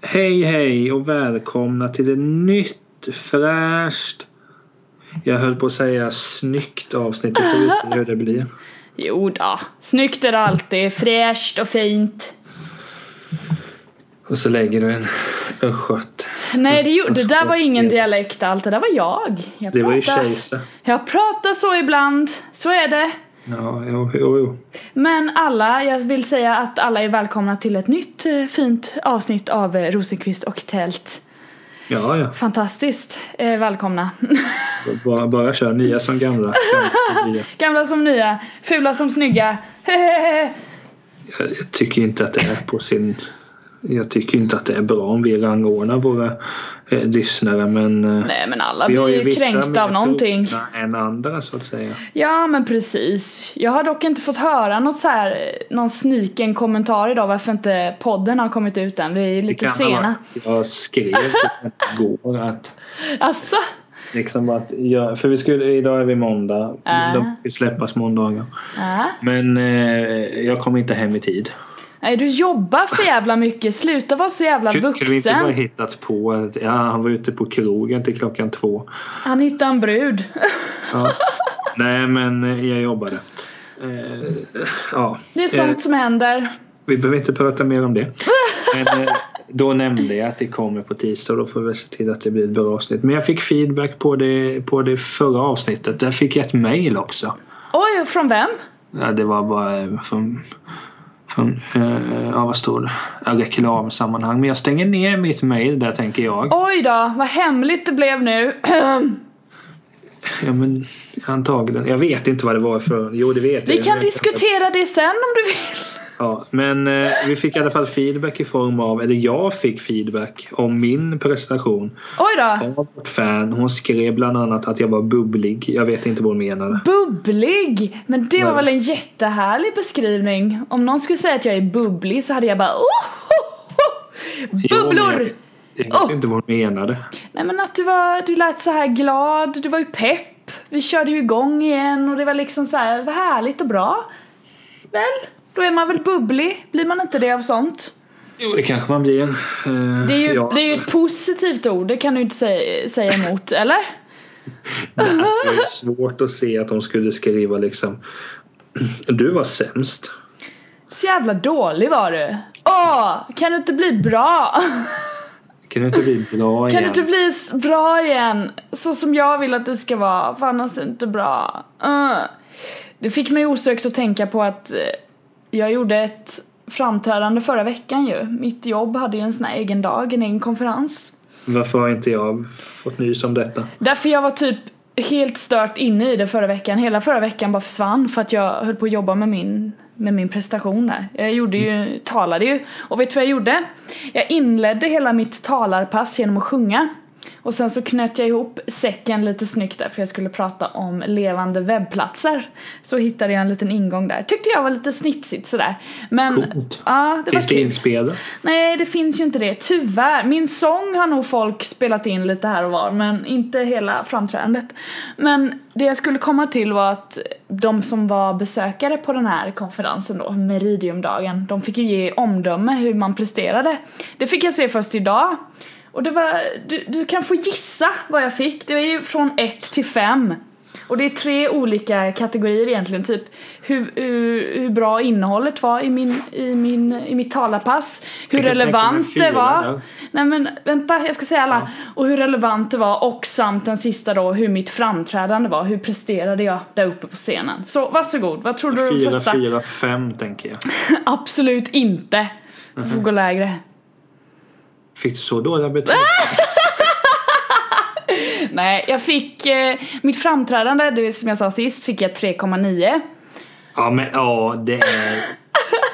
Hej hej och välkomna till ett nytt fräscht Jag höll på att säga snyggt avsnitt. Vi får vi se hur det blir. Jo då. snyggt är det alltid, fräscht och fint. Och så lägger du en östgöt. Nej, det, gjorde, det där var ingen dialekt allt, det där var jag. jag Det var ju pratar- kejsa. Jag pratar så ibland, så är det. Ja, jo, jo, jo. Men alla, jag vill säga att alla är välkomna till ett nytt eh, fint avsnitt av eh, Rosenqvist och Tält. Ja, ja. Fantastiskt eh, välkomna. Bara, bara kör. Nya som gamla. Nya. Gamla som nya, fula som snygga. Jag, jag tycker inte att det är på sin... Jag tycker inte att det är bra om vi rangordnar våra eh, lyssnare men... eh, Nej men alla vi har blir ju vissa kränkta mer av någonting. trogna än andra så att säga. Ja men precis. Jag har dock inte fått höra något så här, någon sniken kommentar idag varför inte podden har kommit ut än. Vi är ju lite kan ha sena. varit- Jag skrev typ igår att Alltså, liksom att jag, för vi skulle, idag är vi måndag. Äh. De ska släppas måndagar. äh. Men eh, jag kom inte hem i tid. Nej du jobbar för jävla mycket. Sluta vara så jävla Kunde vi inte bara vuxen. hittat på att ja, han var ute på krogen till klockan två. Han hittade en brud. Ja. Nej men eh, jag jobbade. Eh, ja. Det är Eh, sånt som händer. Vi behöver inte prata mer om det. Men eh, då nämnde jag att det kommer på tisdag och då får vi se till att det blir ett bra avsnitt. Men jag fick feedback på det, på det förra avsnittet. Där fick jag ett mail också. Oj, från vem? Ja, det var bara eh, från, från eh, ja, vad stod det? Ja, reklamsammanhang. Men jag stänger ner mitt mail där tänker jag. Oj då, vad hemligt det blev nu. Ja, men, antagligen. Jag vet inte vad det var för. Jo, det vet jag. Vi Jag kan vet inte. diskutera det sen om du vill. Ja, men eh, vi fick i alla fall feedback i form av, eller jag fick feedback om min prestation. Oj då. Jag var vårt fan. Hon skrev bland annat att jag var bubblig. Jag vet inte vad hon menade. Bubblig! Men det var väl en jättehärlig beskrivning. Om någon skulle säga att jag är bubblig så hade jag bara oh, ho, ho. Jo, men Bubblor! Jag, jag vet Oh! inte vad hon menade. Nej men att du var, du lät så här glad, du var ju pepp. Vi körde ju igång igen och det var liksom så här, vad härligt och bra. Väl, då är man väl bubblig? Blir man inte det av sånt? Jo, det kanske man blir. Eh, Det är ju, ja. det är ju ett positivt ord, det kan du inte säga, säga emot, eller? Alltså, det är svårt att se att hon skulle skriva liksom du var sämst. Så jävla dålig var du. Åh, kan du inte bli bra? Kan du inte bli bra Kan igen? du inte bli s- bra igen? Så som jag vill att du ska vara, för annars är det inte bra. Uh. Det fick mig osökt att tänka på att eh, jag gjorde ett framträdande förra veckan ju. Mitt jobb hade ju en sån här egen dag, en egen konferens. Varför har inte jag fått nys om detta? Därför jag var typ helt stört inne i det förra veckan. Hela förra veckan bara försvann för att jag höll på att jobba med min, med min prestation där. Jag gjorde ju, talade ju. Och vet du vad jag gjorde? Jag inledde hela mitt talarpass genom att sjunga. Och sen så knöt jag ihop säcken lite snyggt där för jag skulle prata om levande webbplatser. Så hittade jag en liten ingång där. Tyckte jag var lite snitsigt sådär. Men Coolt. ja, det Finns var det kul. inspelat? Nej, det finns ju inte det. Tyvärr. Min sång har nog folk spelat in lite här och var, men inte hela framträdandet. Men det jag skulle komma till var att de som var besökare på den här konferensen då, Meridiumdagen, de fick ju ge omdöme hur man presterade. Det fick jag se först idag. Och det var, du, du kan få gissa vad jag fick. Det är ju från 1 till 5. Och det är tre olika kategorier egentligen, typ hur, hur, hur bra innehållet var i, min, i, min, i mitt talarpass, hur Jag kan relevant tänka mig det fyra var. där. Nej men vänta, jag ska säga alla. Och hur relevant det var och samt den sista då hur mitt framträdande var, hur presterade jag där uppe på scenen. Så varsågod, vad tror du om Fyra, första? fyra, fem tänker jag. Absolut inte! Du Mhm. får gå lägre. Fick du så dåliga betyg? Ah! Nej, jag fick eh, mitt framträdande, det som jag sa sist, fick jag 3,9. Ja men ja det är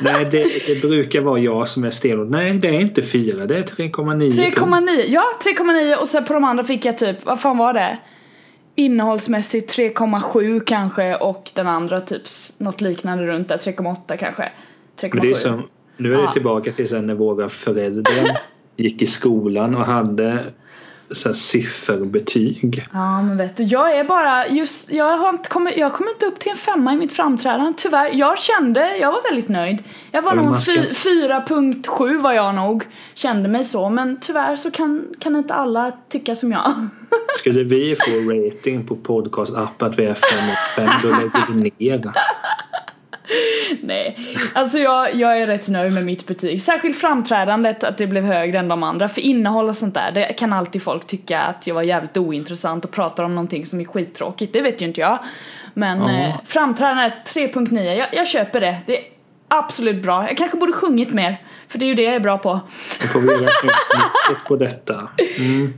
Nej det, det brukar vara jag som är stenhård. Nej det är inte fyra det är 3,9. 3,9, ja 3,9 och sen på de andra fick jag typ, vad fan var det? Innehållsmässigt 3,7 kanske och den andra typ s- något liknande runt där, 3,8 kanske. Men det är 3,7. som, Ah. nu är det Ja. tillbaka till sen när våra föräldrar gick i skolan och hade så här, sifferbetyg. Ja men vet du, jag är bara just, jag har inte kommit, jag kommer inte upp till en femma i mitt framträdande tyvärr. Jag kände, jag var väldigt nöjd. Jag var Ja, men nog man ska- fy- 4.7 var jag nog. Kände mig så men tyvärr så kan, kan inte alla tycka som jag. Skulle vi få rating på podcastapp att vi är 5 av 5 då lägger vi ner. Nej, alltså jag, jag är rätt nöjd med mitt betyg. Särskilt framträdandet, att det blev högre än de andra. För innehåll och sånt där, det kan alltid folk tycka att jag var jävligt ointressant och pratar om någonting som är skittråkigt. Det vet ju inte jag. Men Ja. eh, framträdandet 3.9, jag, jag köper det. Det är absolut bra. Jag kanske borde sjungit mer, för det är ju det jag är bra på. Då får vi göra snittet på detta. Mm.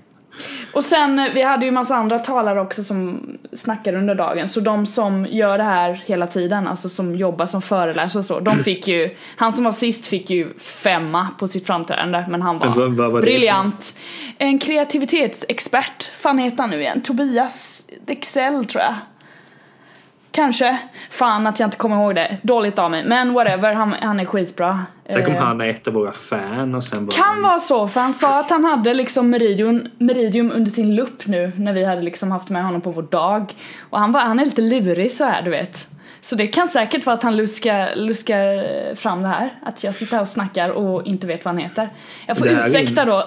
Och sen, eh, vi hade ju massa andra talare också som snackade under dagen. Så de som gör det här hela tiden, alltså som jobbar som föreläsare och så, de fick ju, han som var sist fick ju femma på sitt framträdande. Men han var, Men vad- vad var det för- briljant. En kreativitetsexpert, fan heter han nu igen? Tobias Dexell tror jag. Kanske. Fan att jag inte kommer ihåg det. Dåligt av mig. Men whatever, han, han är skitbra. Tänk om Eh, han är ett av våra fan och sen bara... kan vara så, för han sa att han hade liksom meridium, meridium under sin lupp nu när vi hade liksom haft med honom på vår dag. Och han, bara, han är lite lurig så här, du vet. Så det kan säkert vara att han luskar, luskar fram det här. Att jag sitter här och snackar och inte vet vad han heter. Jag får Det här är ursäkta in- då.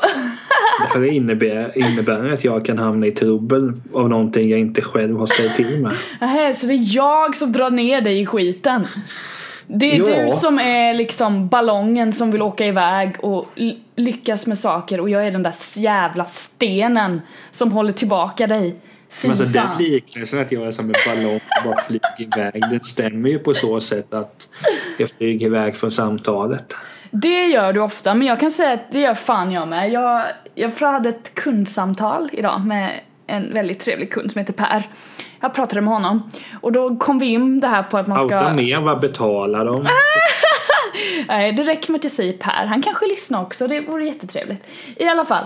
Det här innebär, innebär att jag kan hamna i trubbel av någonting jag inte själv har ställt till med. Nähä, så det är jag som drar ner dig i skiten. Det är Ja. du som är liksom ballongen som vill åka iväg och l- lyckas med saker och jag är den där s- jävla stenen som håller tillbaka dig. Fy Men alltså, den fan. liknelsen att jag är som en ballong och bara flyger iväg den stämmer ju på så sätt att jag flyger iväg från samtalet. Det gör du ofta men jag kan säga att det gör fan jag med. Jag, jag hade ett kundsamtal idag med en väldigt trevlig kund som heter Per. Jag pratade med honom och då kom vi in det här på att man ska... Outa mer, vad betalar de? Nej, Eh, det räcker med att jag säger Per. Han kanske lyssnar också, det vore jättetrevligt. I alla fall.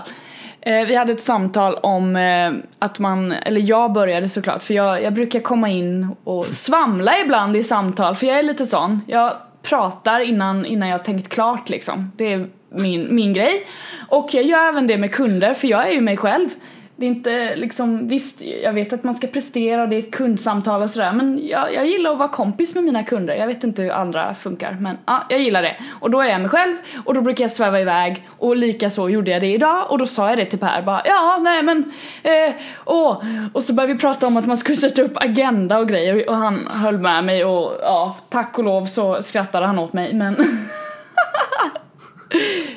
Eh, vi hade ett samtal om eh, att man, eller jag började såklart, för jag, jag brukar komma in och svamla ibland i samtal, för jag är lite sån. Jag pratar innan, innan jag har tänkt klart liksom. Det är min, min grej. Och jag gör även det med kunder, för jag är ju mig själv. Det är inte liksom, visst jag vet att man ska prestera och det är ett kundsamtal och sådär men jag, jag gillar att vara kompis med mina kunder. Jag vet inte hur andra funkar men ja, jag gillar det. Och då är jag mig själv och då brukar jag sväva iväg och lika så gjorde jag det idag och då sa jag det till Per bara ja nej men eh, åh. Och så började vi prata om att man skulle sätta upp agenda och grejer och han höll med mig och ja tack och lov så skrattade han åt mig men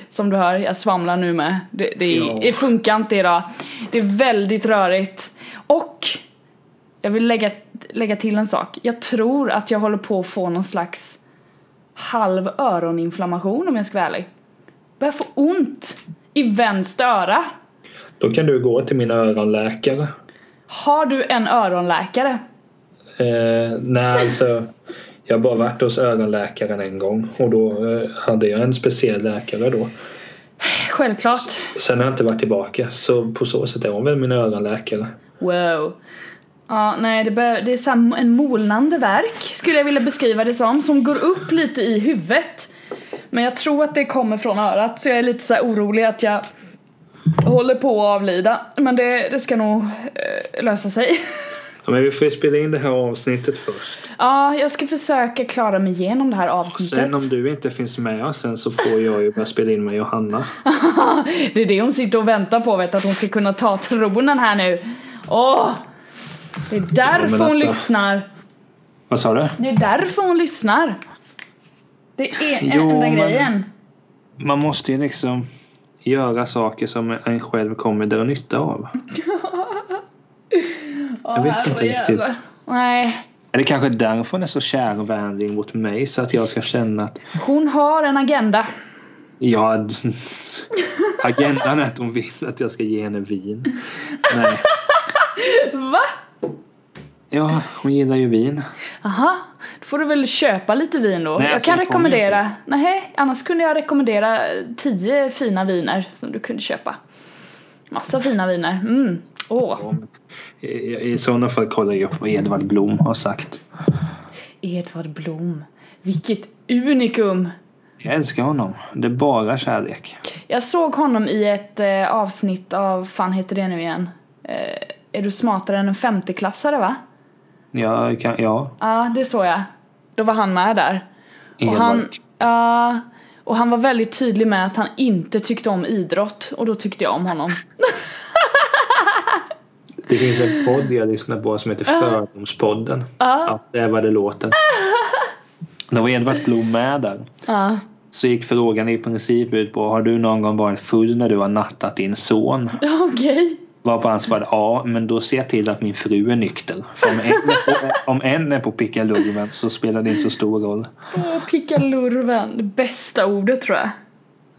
Som du hör, jag svamlar nu med. Det, det, Ja. det funkar inte idag. Det är väldigt rörigt. Och jag vill lägga, lägga till en sak. Jag tror att jag håller på att få någon slags halv öroninflammation om jag ska vara ärlig. Börjar få ont i vänster öra. Då kan du gå till min öronläkare. Har du en öronläkare? Eh, nej, alltså. Jag har bara varit hos öronläkaren en gång och då eh, hade jag en speciell läkare då. Självklart. Sen har jag inte varit tillbaka så på så sätt är hon väl min öronläkare. Wow. Ja, nej, det, bör, det är så här en molnande verk skulle jag vilja beskriva det som, som går upp lite i huvudet. Men jag tror att det kommer från örat så jag är lite så här orolig att jag håller på att avlida. Men det, det ska nog eh, lösa sig. Ja, men vi får ju spela in det här avsnittet först. Ja, jag ska försöka klara mig igenom det här avsnittet. Sen om du inte finns med oss sen så får jag ju börja spela in med Johanna. Det är det hon sitter och väntar på, vet du, att hon ska kunna ta tronen här nu. Åh! Det är därför hon alltså- lyssnar. Vad sa du? Det är därför hon lyssnar. Det är en- Jo, enda men- grejen. Man måste ju liksom göra saker som en själv kommer dra nytta av. Åh, vet inte herrejävlar. riktigt. Nej. Eller kanske därför hon är så kärvänlig mot mig så att jag ska känna att Hon har en agenda. Ja, d- agendan är att hon vill att jag ska ge henne vin. Nej. Va? Ja, hon gillar ju vin. Aha. Då får du väl köpa lite vin då. Nej, jag alltså, kan det kommer rekommendera. Nej, annars kunde jag rekommendera tio fina viner som du kunde köpa. Massa fina viner. Mm. Åh, Om- I, i- i sådana fall kollar jag upp vad Edvard Blom har sagt. Edvard Blom. Vilket unikum. Jag älskar honom. Det är bara kärlek. Jag såg honom i ett eh, avsnitt av, fan heter det nu igen? Eh, är du smartare än en femteklassare va? Ja, kan, ja. Ja, det såg jag. Då var han med där. Och Elak. han, ja, och han var väldigt tydlig med att han inte tyckte om idrott och då tyckte jag om honom. Det finns en podd jag lyssnar på som heter Ah. Fördomspodden. Ja, det är vad det låter. Då var Edvard Blom med där. Ja. Så gick frågan i princip ut på Har du någon gång varit full när du har nattat din son? Ja, Okej. Var på han svarade ja, men då ser jag till att min fru är nykter. För om en är på, om en är på pickalurven så spelar det inte så stor roll. Åh, Picka lurven. Det bästa ordet tror jag.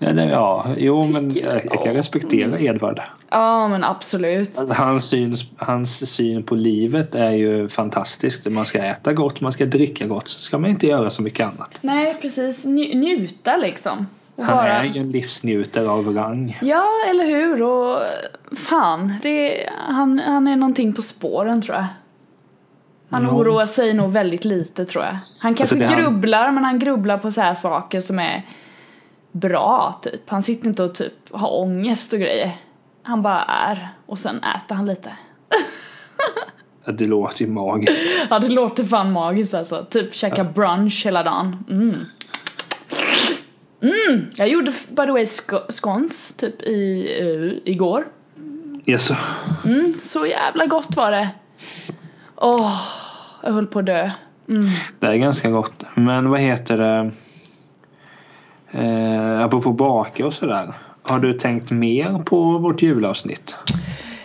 Ja, det, ja jo men jag, jag kan Mm. respektera Edvard. Ja, men absolut. Alltså, hans, syn, hans syn på livet är ju fantastisk. Man ska äta gott, man ska dricka gott, så ska man inte göra så mycket annat. Nej, precis. Nj- njuta liksom. Och Han bara- är ju en livsnjutare av rang. Ja, eller hur? Och fan, det, han, han är någonting på spåren tror jag. Han Ja. Alltså, oroar sig nog väldigt lite tror jag. Han kanske det han- grubblar, men han grubblar på så här saker som är bra typ. Han sitter inte och typ har ångest och grejer. Han bara är och sen äter han lite. Ja, Det låter ju magiskt. Ja, det låter fan magiskt alltså. Typ käka brunch hela dagen. Mm. Mm. Jag gjorde f- by the way sko- scones typ i, eh, igår. Mm, Yes. Så jävla gott var det. Åh, jag höll på att dö. Det är ganska gott. Men vad heter det? Eh, apropå baka och sådär. Har du tänkt mer på vårt julavsnitt?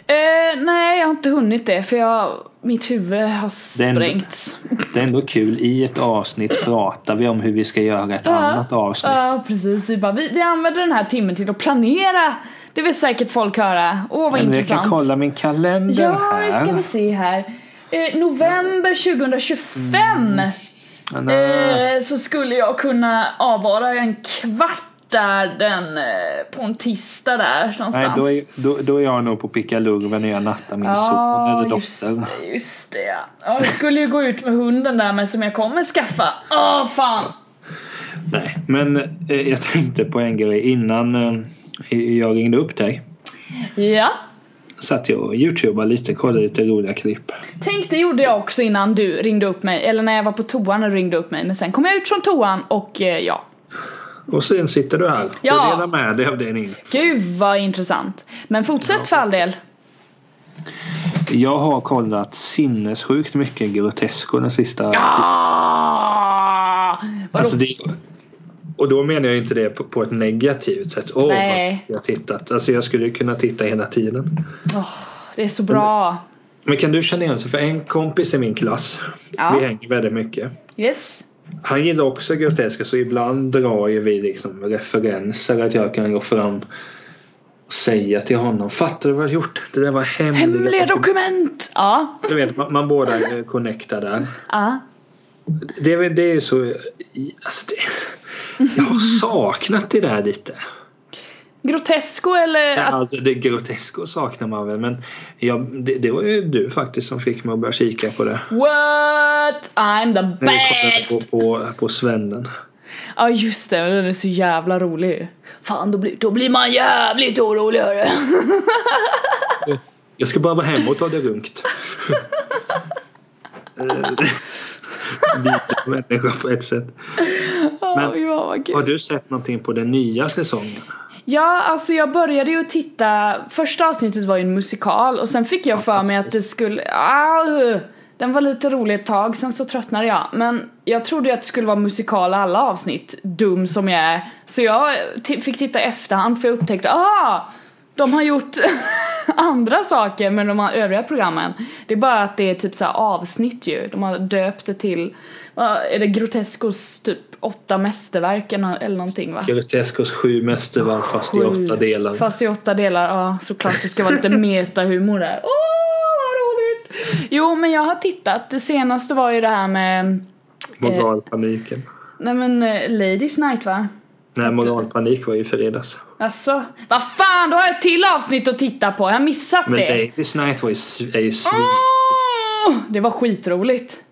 Eh, nej, jag har inte hunnit det för jag, mitt huvud har Den- sprängts. Det är ändå kul. I ett avsnitt pratar vi om hur vi ska göra ett annat avsnitt. Ja, precis. Vi, bara, vi, vi använder den här timmen till att planera. Det vill säkert folk höra. Åh, vad Men jag intressant. kan kolla min kalender ja, här. nu ska vi se här. Eh, november 2025 Nej. eh, så skulle jag kunna avvara en kvart där den, eh, på en tisdag där någonstans. Nej, då är, då, då är jag nog på picka lurven när jag nattar min son Ja, eller just dotter. det, just det ja. ja. Jag skulle ju gå ut med hunden där men som jag kommer skaffa. Åh fan! Nej, men eh, jag tänkte på en grej innan eh, jag ringde upp dig. Ja. Satt jag och youtubade lite, kollade lite roliga klipp. Tänk det gjorde jag också innan du ringde upp mig, eller när jag var på toan och du ringde upp mig men sen kom jag ut från toan och eh, ja. Och sen sitter du här Ja. och delar med dig av din info. Gud vad intressant. Men fortsätt för all del. Jag har kollat sinnessjukt mycket Grotesco den sista... Ah! Vadå? Alltså det, och då menar jag inte det på, på ett negativt sätt. Åh, vad Nej. jag har tittat. Alltså jag skulle kunna titta hela tiden. Åh, det är så bra. Men kan du känna igen sig? För en kompis i min klass, Ja. vi hänger väldigt mycket. Yes. Han gillar också groteska så ibland drar ju vi liksom referenser att jag kan gå fram och säga till honom Fattar du vad jag gjort? Det där var hemliga... Hemliga Mm. dokument! Ja. Du vet, man, man båda är connectade där. Ja. Det, är väl- det är ju så... Alltså det, jag har saknat det där lite. Grotesco eller? Ja, Alltså, Alltså det groteska saknar man väl men jag, det, det var ju du faktiskt som fick mig att börja kika på det. What? I'm the När vi kollade best! på, på, på svennen. Ja just det, den är så jävla rolig. Fan då blir, då blir man jävligt orolig hörru. Jag ska bara vara hemma och ta det lugnt. Eh, Lite människa på ett sätt. Men- Oj, vad vad Har kul. du sett någonting på den nya säsongen? Ja alltså jag började ju titta, första avsnittet var ju en musikal och sen fick jag för mig att det skulle, ah, uh. den var lite rolig ett tag sen så tröttnade jag. Men jag trodde ju att det skulle vara musikal alla avsnitt, dum som jag är. Så jag t- fick titta i efterhand för jag upptäckte, ah! De har gjort andra saker med de här övriga programmen. Det är bara att det är typ så här avsnitt ju. De har döpt det till, vad är det Grotescos typ åtta mästerverk eller nå- eller någonting va? Groteskos sju mästerverk fast i Sju. åtta delar. Fast i åtta delar, ja såklart det ska vara lite metahumor där. Åh vad roligt! Jo men jag har tittat, det senaste var ju det här med, eh, Moralpaniken. nej men eh, Ladies Night va? Nej, moralpanik var ju i fredags. Alltså, vad fan då har jag ett till avsnitt att titta på, jag har missat Men det! Ladies Night var ju, sv- är ju svin. Åh, Det var skitroligt.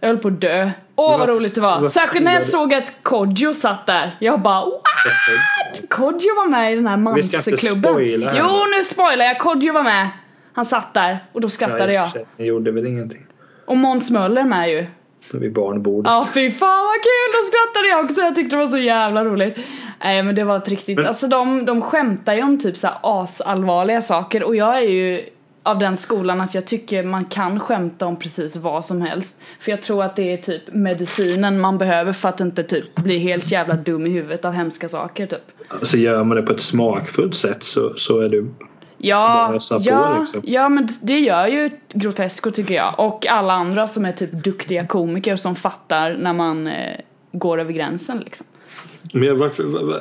Jag höll på att dö. Åh vad Varför- roligt det var. varför Särskilt när jag gillar såg att Kodjo satt där. Jag bara wow! att Kodjo var med i den här Vi ska inte mansklubben. spoila här. Jo, nu spoilar jag. Kodjo var med. Han satt där och då skrattade jag. Det gjorde väl ingenting. Och Måns Möller med ju. Vid barnbordet. Ja, fy fan vad kul! Då skrattade jag också. Jag tyckte det var så jävla roligt. Nej, men det var ett riktigt... Men- Alltså de, de skämtar ju om typ så här asallvarliga saker och jag är ju av den skolan att jag tycker man kan skämta om precis vad som helst. För jag tror att det är typ medicinen man behöver för att inte typ bli helt jävla dum i huvudet av hemska saker typ. Så gör man det på ett smakfullt sätt så, så är du Bara Ja, ösa på, ja, liksom. ja men det gör ju Grotesco tycker jag och alla andra som är typ duktiga komiker som fattar när man eh, går över gränsen liksom. Men jag vart... va- va-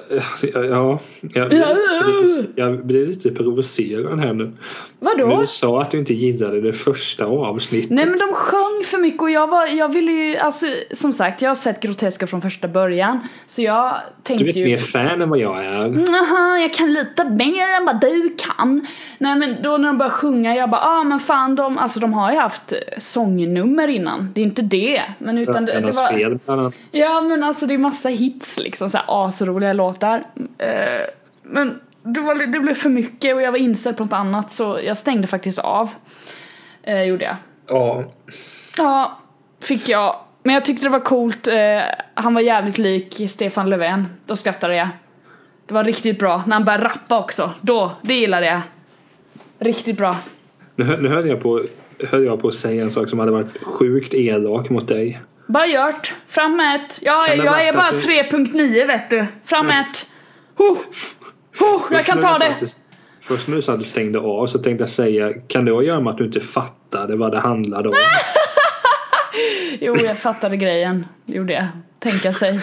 Ja, ja, jag, Ja. jag, jag blir lite provocerad här nu. Vadå? Men du sa att du inte gillade det första avsnittet. Nej men de sjöng för mycket och jag var, jag ville ju, alltså som sagt jag har sett Groteska från första början Så jag tänkte du är ju mer fan än vad jag Mm. är. Jaha, jag kan lite mer än vad du kan Nej men då när de började sjunga, jag bara ah men fan de, alltså de har ju haft sångnummer innan Det är inte det, men utan det, det var fel, bland annat. Ja men alltså det är massa hits liksom, så här asroliga låtar. Eh, men det, var, li- det blev för mycket och jag var inställd på något annat så jag stängde faktiskt av. Eh, gjorde jag. Ja, Ja, fick jag. Men jag tyckte det var coolt, eh, han var jävligt lik Stefan Löfven. Då skrattade jag. Det var riktigt bra, när han började rappa också. Då, det gillade jag. Riktigt bra. nu, hö- nu höll jag på höll jag på att säga en sak som hade varit sjukt elak mot dig. Bara gjort. Fram med ett. Ja, Kan det jag är vara bara att du- 3.9 vet du. Fram med ett. Ho! Ho! Jag kan Nu ta sa det. att du- Först när du sa att du stängde av så tänkte jag säga kan det ha att göra med att du inte fattade vad det handlade om? Ah! Jo, jag fattade grejen. Det Gjorde jag. Tänka sig.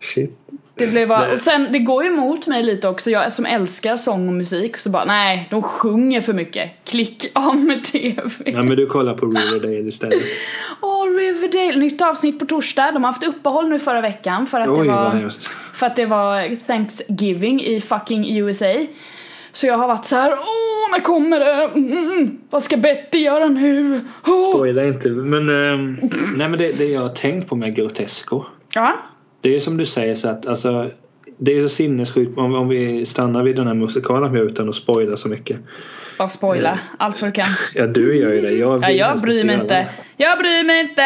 Shit. Det blev bara... Nej. Och sen, det går ju emot mig lite också. Jag som älskar sång och musik. Så bara, nej, de sjunger för mycket. Klick av med TV. Nej men du kollar på Riverdale istället. Åh, Riverdale. Nytt avsnitt på torsdag. De har haft uppehåll nu förra veckan. För att det Oj var... vad hemskt. För att det var Thanksgiving i fucking USA. Så jag har varit så här, åh när kommer det? Mm, vad ska Betty göra nu? Oh. Spoila inte. Men, ehm, nej, men det, det jag har tänkt på med Grotesco. Ja, Det är som du säger så att alltså, det är så sinnessjukt om, om vi stannar vid den här musikalen här utan att spoila så mycket. bara spoila Mm. allt vad du kan. Ja du gör ju det. Jag, Ja, vill jag helst bryr mig göra inte. det. Jag bryr mig inte.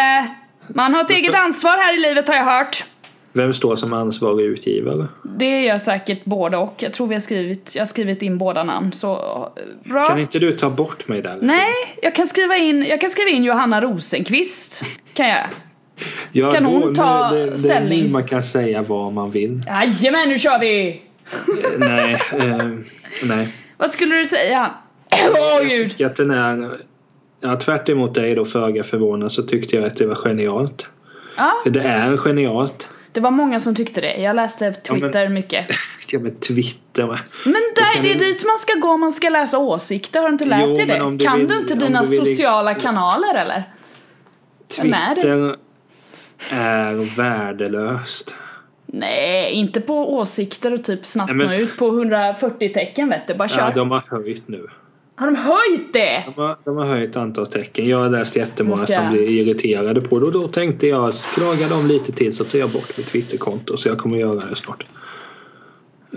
Man har ett eget ansvar här i livet har jag hört. Vem står som ansvarig utgivare? Det gör säkert både och. Jag tror vi har skrivit, jag har skrivit in båda namn så eh, Kan bra. inte du ta bort mig där? Nej, jag kan skriva in, jag kan skriva in Johanna Rosenqvist. Kan jag? Ja, kan hon då- nu- ta det, det är nu ställning? man kan säga vad man vill. Jajamän, nu kör vi! Eh, nej, eh, nej. Vad skulle du säga? Åh gud! Att den är, ja, tvärt emot dig då föga förvånad så tyckte jag att det var genialt. Ja, Det är genialt. det var många som tyckte det. Jag läste men- Twitter mycket. Ja men Twitter va. Men där, kan det är ju- dit man ska gå om man ska läsa åsikter. Har du inte lärt Jo, dig men om det? du kan vill- du inte om dina du vill- sociala kanaler eller? Vem är det? Twitter är värdelöst. Nej, inte på åsikter och typ snabbt Nej, men- nå ut på 140 tecken vet du. Bara kör. Ja, de har höjt nu. Har de höjt det? De har, de har höjt antal tecken. Jag har läst jättemånga Måste jag- som blir irriterade på det och då tänkte jag klaga dem lite till så tar jag bort mitt Twitterkonto så jag kommer göra det snart.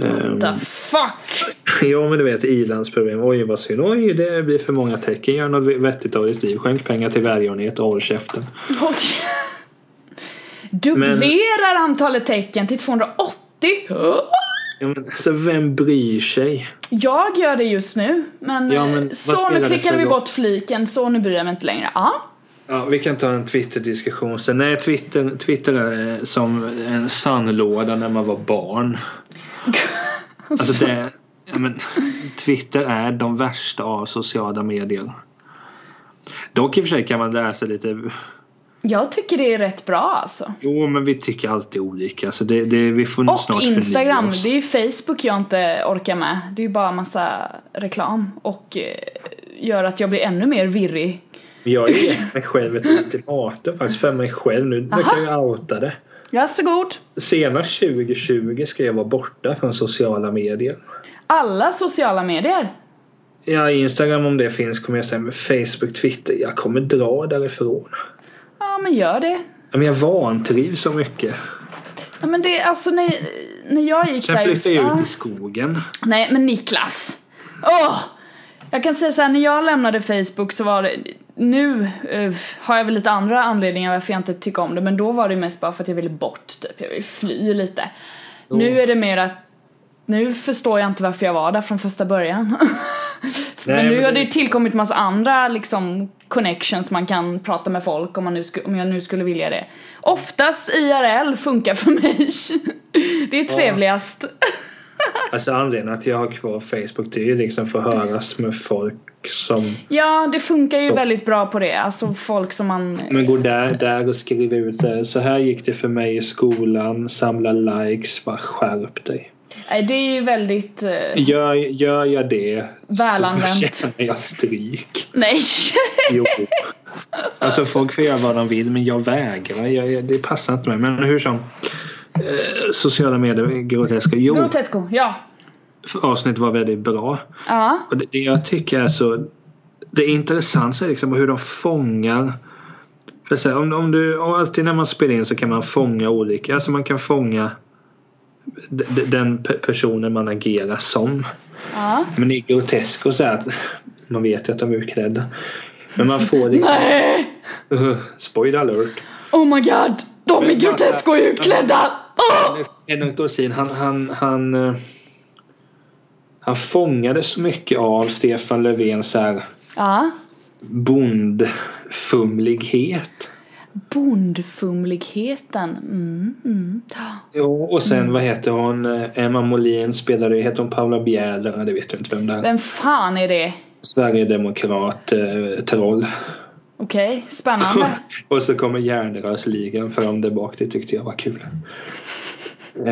Ehm, The fuck! ja men du vet i-landsproblem. Oj vad synd. Oj det blir för många tecken. Gör något vettigt av ditt liv. Skänk pengar till välgörenhet och håll käften. Oj. Dubblerar antalet tecken till 280. Ja, men, alltså vem bryr sig? Jag gör det just nu, men, Ja, men eh, vad så spelar nu det klickade för vi roll? bort fliken så nu bryr jag mig inte längre. Ja. Ja, vi kan ta en Twitter-diskussion sen. Nej, Twitter, Twitter är eh, som en sandlåda när man var barn. Alltså det, ja, men, Twitter är de värsta av sociala medier. Dock i och för sig kan man läsa lite. Jag tycker det är rätt bra alltså. Jo, men vi tycker alltid olika. Så det, det, vi får nog snart Och förnya Instagram, oss. det är ju Facebook jag inte orkar med. Det är ju bara massa reklam och eh, gör att jag blir ännu mer virrig. Jag har gett mig själv ett ultimatum faktiskt för mig själv. Nu nu kan jag outa det. Varsågod! Senast 2020 ska jag vara borta från sociala medier. Alla sociala medier. Ja, Instagram om det finns kommer jag säga, men Facebook, Twitter, jag kommer dra därifrån. Ja men gör det. Ja, Men jag vantrivs så mycket. Ja, men det, alltså när, när jag gick Sen där... flyttade jag ut Ja. i skogen. Nej, men Niklas! Åh! Jag kan säga så här, när jag lämnade Facebook så var det... Nu eh, har jag väl lite andra anledningar varför jag inte tycker om det, men då var det mest bara för att jag ville bort, typ. Jag ville fly lite. Nu är det mer att... Nu förstår jag inte varför jag var där från första början. men Nej, nu men har det det- ju tillkommit massa andra liksom connections man kan prata med folk om, man nu sku, om jag nu skulle vilja det. Oftast IRL funkar för mig. det är trevligast. Alltså anledningen att jag har kvar Facebook det är ju liksom för att höras med folk som Ja, det funkar ju Så. väldigt bra på det. Alltså folk som man... men går där, där och skriver ut det. Så här gick det för mig i skolan, samla likes, bara skärp dig. Nej, det är ju väldigt... eh, Gör, gör jag det Välanvänt. så känner jag stryk. Nej! Jo. Alltså folk får göra vad de vill men jag vägrar. Jag, jag, det passar inte mig. Men hur som. Eh, sociala medier är groteska. Jo, Grotesco, ja. avsnittet var väldigt bra. Ja. Och det, det jag tycker är så det är intressant är liksom hur de fångar för så här, om, om du, och alltid när man spelar in så kan man fånga olika, alltså man kan fånga d- d- den pe- personen man agerar som. ja. Men i Grotesco så här, att- man vet ju att de är utklädda. Men man får liksom, Nej! spoiler alert. Oh my god! De är Grotesco utklädda! Åh! Henrik Dorsin, han, han, han, eh, han fångade så mycket av Stefan Löfvens så här Ja. bondfumlighet. Bondfumligheten. Mm, mm. Ja, och sen vad heter hon? Eh, Emma Molin spelade, heter hon Paula Bjäder? Nej, Det vet du inte vem det är. Vem fan är det? Sverigedemokrat, eh, troll. Okej, spännande. och så kommer järnrörsligan fram där bak. Det tyckte jag var kul. Eh,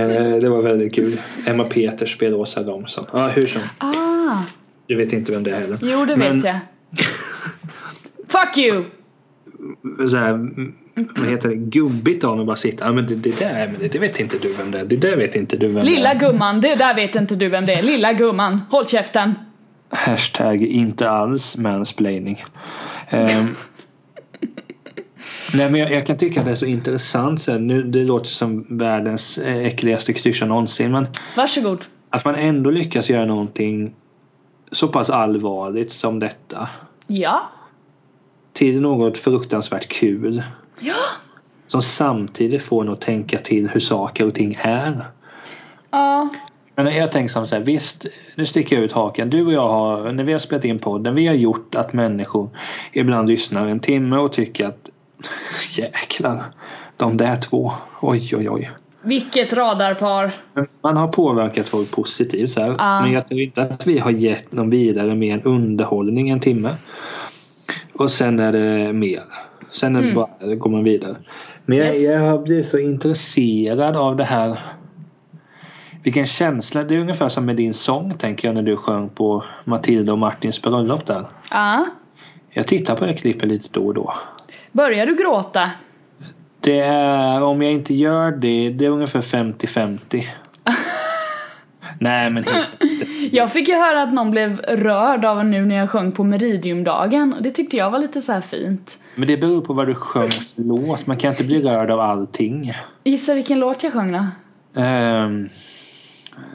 det var väldigt kul. Emma Peters spelar Åsa Romson. Ja, hur som. Ah, Du vet inte vem det är heller. jo det Men- vet jag. Fuck you! Så här, mm, vad heter det? Gubbigt av mig bara sitta. Ja, men det, det där, men det, det vet inte du vem det är. Det där vet inte du vem det Lilla är. gumman, det där vet inte du vem det är. Lilla gumman, håll käften. Hashtag inte alls mansplaining. Ehm, nej men jag, jag kan tycka att det är så intressant. Så här, nu, det låter som världens eh, äckligaste klyscha någonsin. Men Varsågod. att man ändå lyckas göra någonting så pass allvarligt som detta. Ja. Till något fruktansvärt kul. Ja. Som samtidigt får en att tänka till hur saker och ting är. Ja. Men jag tänker som så här, visst, nu sticker jag ut haken. Du och jag har, när vi har spelat in podden, vi har gjort att människor ibland lyssnar en timme och tycker att jäklar, de där två, oj oj oj. Vilket radarpar. Men Man har påverkat folk positivt så här. Ja. Men jag tror inte att vi har gett någon vidare mer underhållning en timme. Och sen är det mer. Sen är det bara, går man vidare. Men jag, Mm. Yes. jag har blivit så intresserad av det här. Vilken känsla. Det är ungefär som med din sång tänker jag när du sjöng på Matilda och Martins bröllop där. Ja. Jag tittar på det klippet lite då och då. Börjar du gråta? Det är, om jag inte gör det, det är ungefär 50-50. Nej men helt Jag fick ju höra att någon blev rörd av nu när jag sjöng på Meridiumdagen. Det tyckte jag var lite så här fint. Men det beror på vad du sjöng för låt. Man kan inte bli rörd av allting. Gissa vilken låt jag sjöng då? Ehm,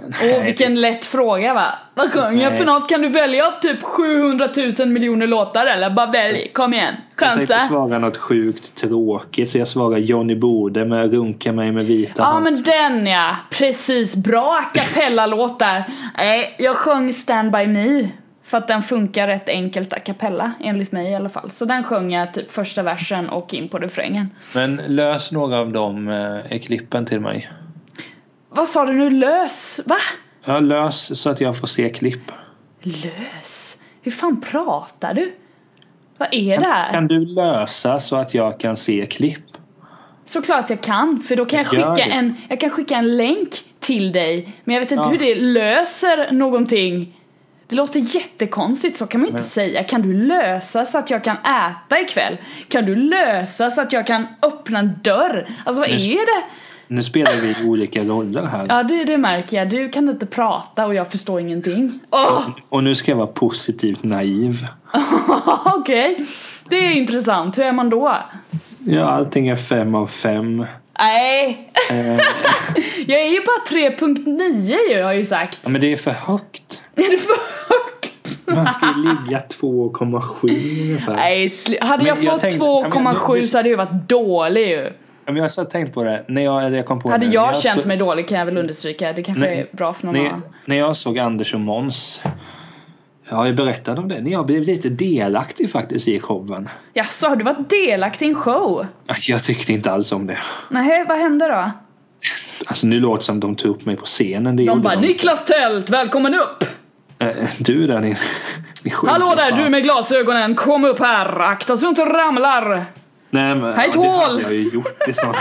Åh, Nej. typ- vilken lätt fråga va? Vad sjöng jag för Nej. något? Kan du välja av typ 700 000 miljoner låtar eller? Bara välj, kom igen, jag tänkte chansa! svara något sjukt tråkigt så jag svarar Johnny Bode med Runka mig med vita Ja hand. men den ja, precis, bra a cappella-låt där. Nej, jag sjöng Stand By Me. För att den funkar rätt enkelt a cappella, enligt mig i alla fall. Så den sjöng jag typ första versen och in på refrängen. men... lös några av de eh, klippen till mig. Vad sa du nu? Lös? Va? Ja, lös så att jag får se klipp. Lös? Hur fan pratar du? Vad är det här? Kan du lösa så att jag kan se klipp? Såklart jag kan, för då kan jag Gör skicka det. en, jag kan skicka en länk till dig. Men jag vet inte Ja. hur det löser någonting. Det låter jättekonstigt, så kan man ju inte Men- säga. Kan du lösa så att jag kan äta ikväll? Kan du lösa så att jag kan öppna en dörr? Alltså vad Men- är det? Nu spelar vi olika roller här. Ja, det, det märker jag. Du kan inte prata och jag förstår ingenting. Åh! Och nu ska jag vara positivt naiv. Okej, det är intressant. Hur är man då? Ja, allting är fem av fem. Nej, Eh, jag är ju bara 3.9 ju har jag ju sagt. ja, men det är för högt. Är det för högt? Man ska ju ligga 2,7 ungefär. Nej, sli- hade Men jag jag fått tänkte- Ja, 2,7 men du- så hade jag ju varit dålig ju. Ja, men jag har så tänkt på det. När jag, jag kom på Hade det. jag, När känt så- mig dålig kan jag väl understryka. Det kanske Nej. är bra för någon När, annan. när jag såg Anders och Måns. Jag har ju berättat om det. När jag blev lite delaktig faktiskt i showen. Jaså, har du varit delaktig i en show? Jag tyckte inte alls om det. Nej, vad hände då? Alltså nu låter det som de tog upp mig på scenen. Det De gjorde bara Niklas Tält, välkommen upp! Eh, Du där ni... ni skiter Hallå där fan. du med glasögonen, kom upp här! Akta så du inte ramlar! Nej men... Hej, ja, det hade Tål! jag ju gjort det så.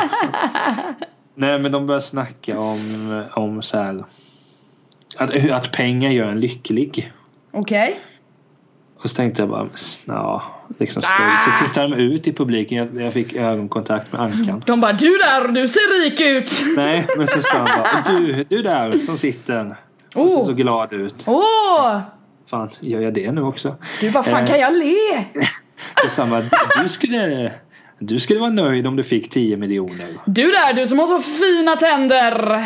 Nej men de börjar snacka om, om så här... Att, hur- att pengar gör en lycklig. Okej. Och så tänkte jag bara, ja, liksom stoj. Så tittade de ut i publiken, jag, jag fick ögonkontakt med ankan. De bara du där, du ser rik ut! Nej, men så sa han bara, "Och du, du där som sitter. Och Alltså, så, Åh! så glad ut. Oh. Åh! Fan, gör jag det nu också? Du bara fan Eh. kan jag le? Så sa han bara, du skulle, du skulle vara nöjd om du fick 10 miljoner. Du där, du som har så fina tänder!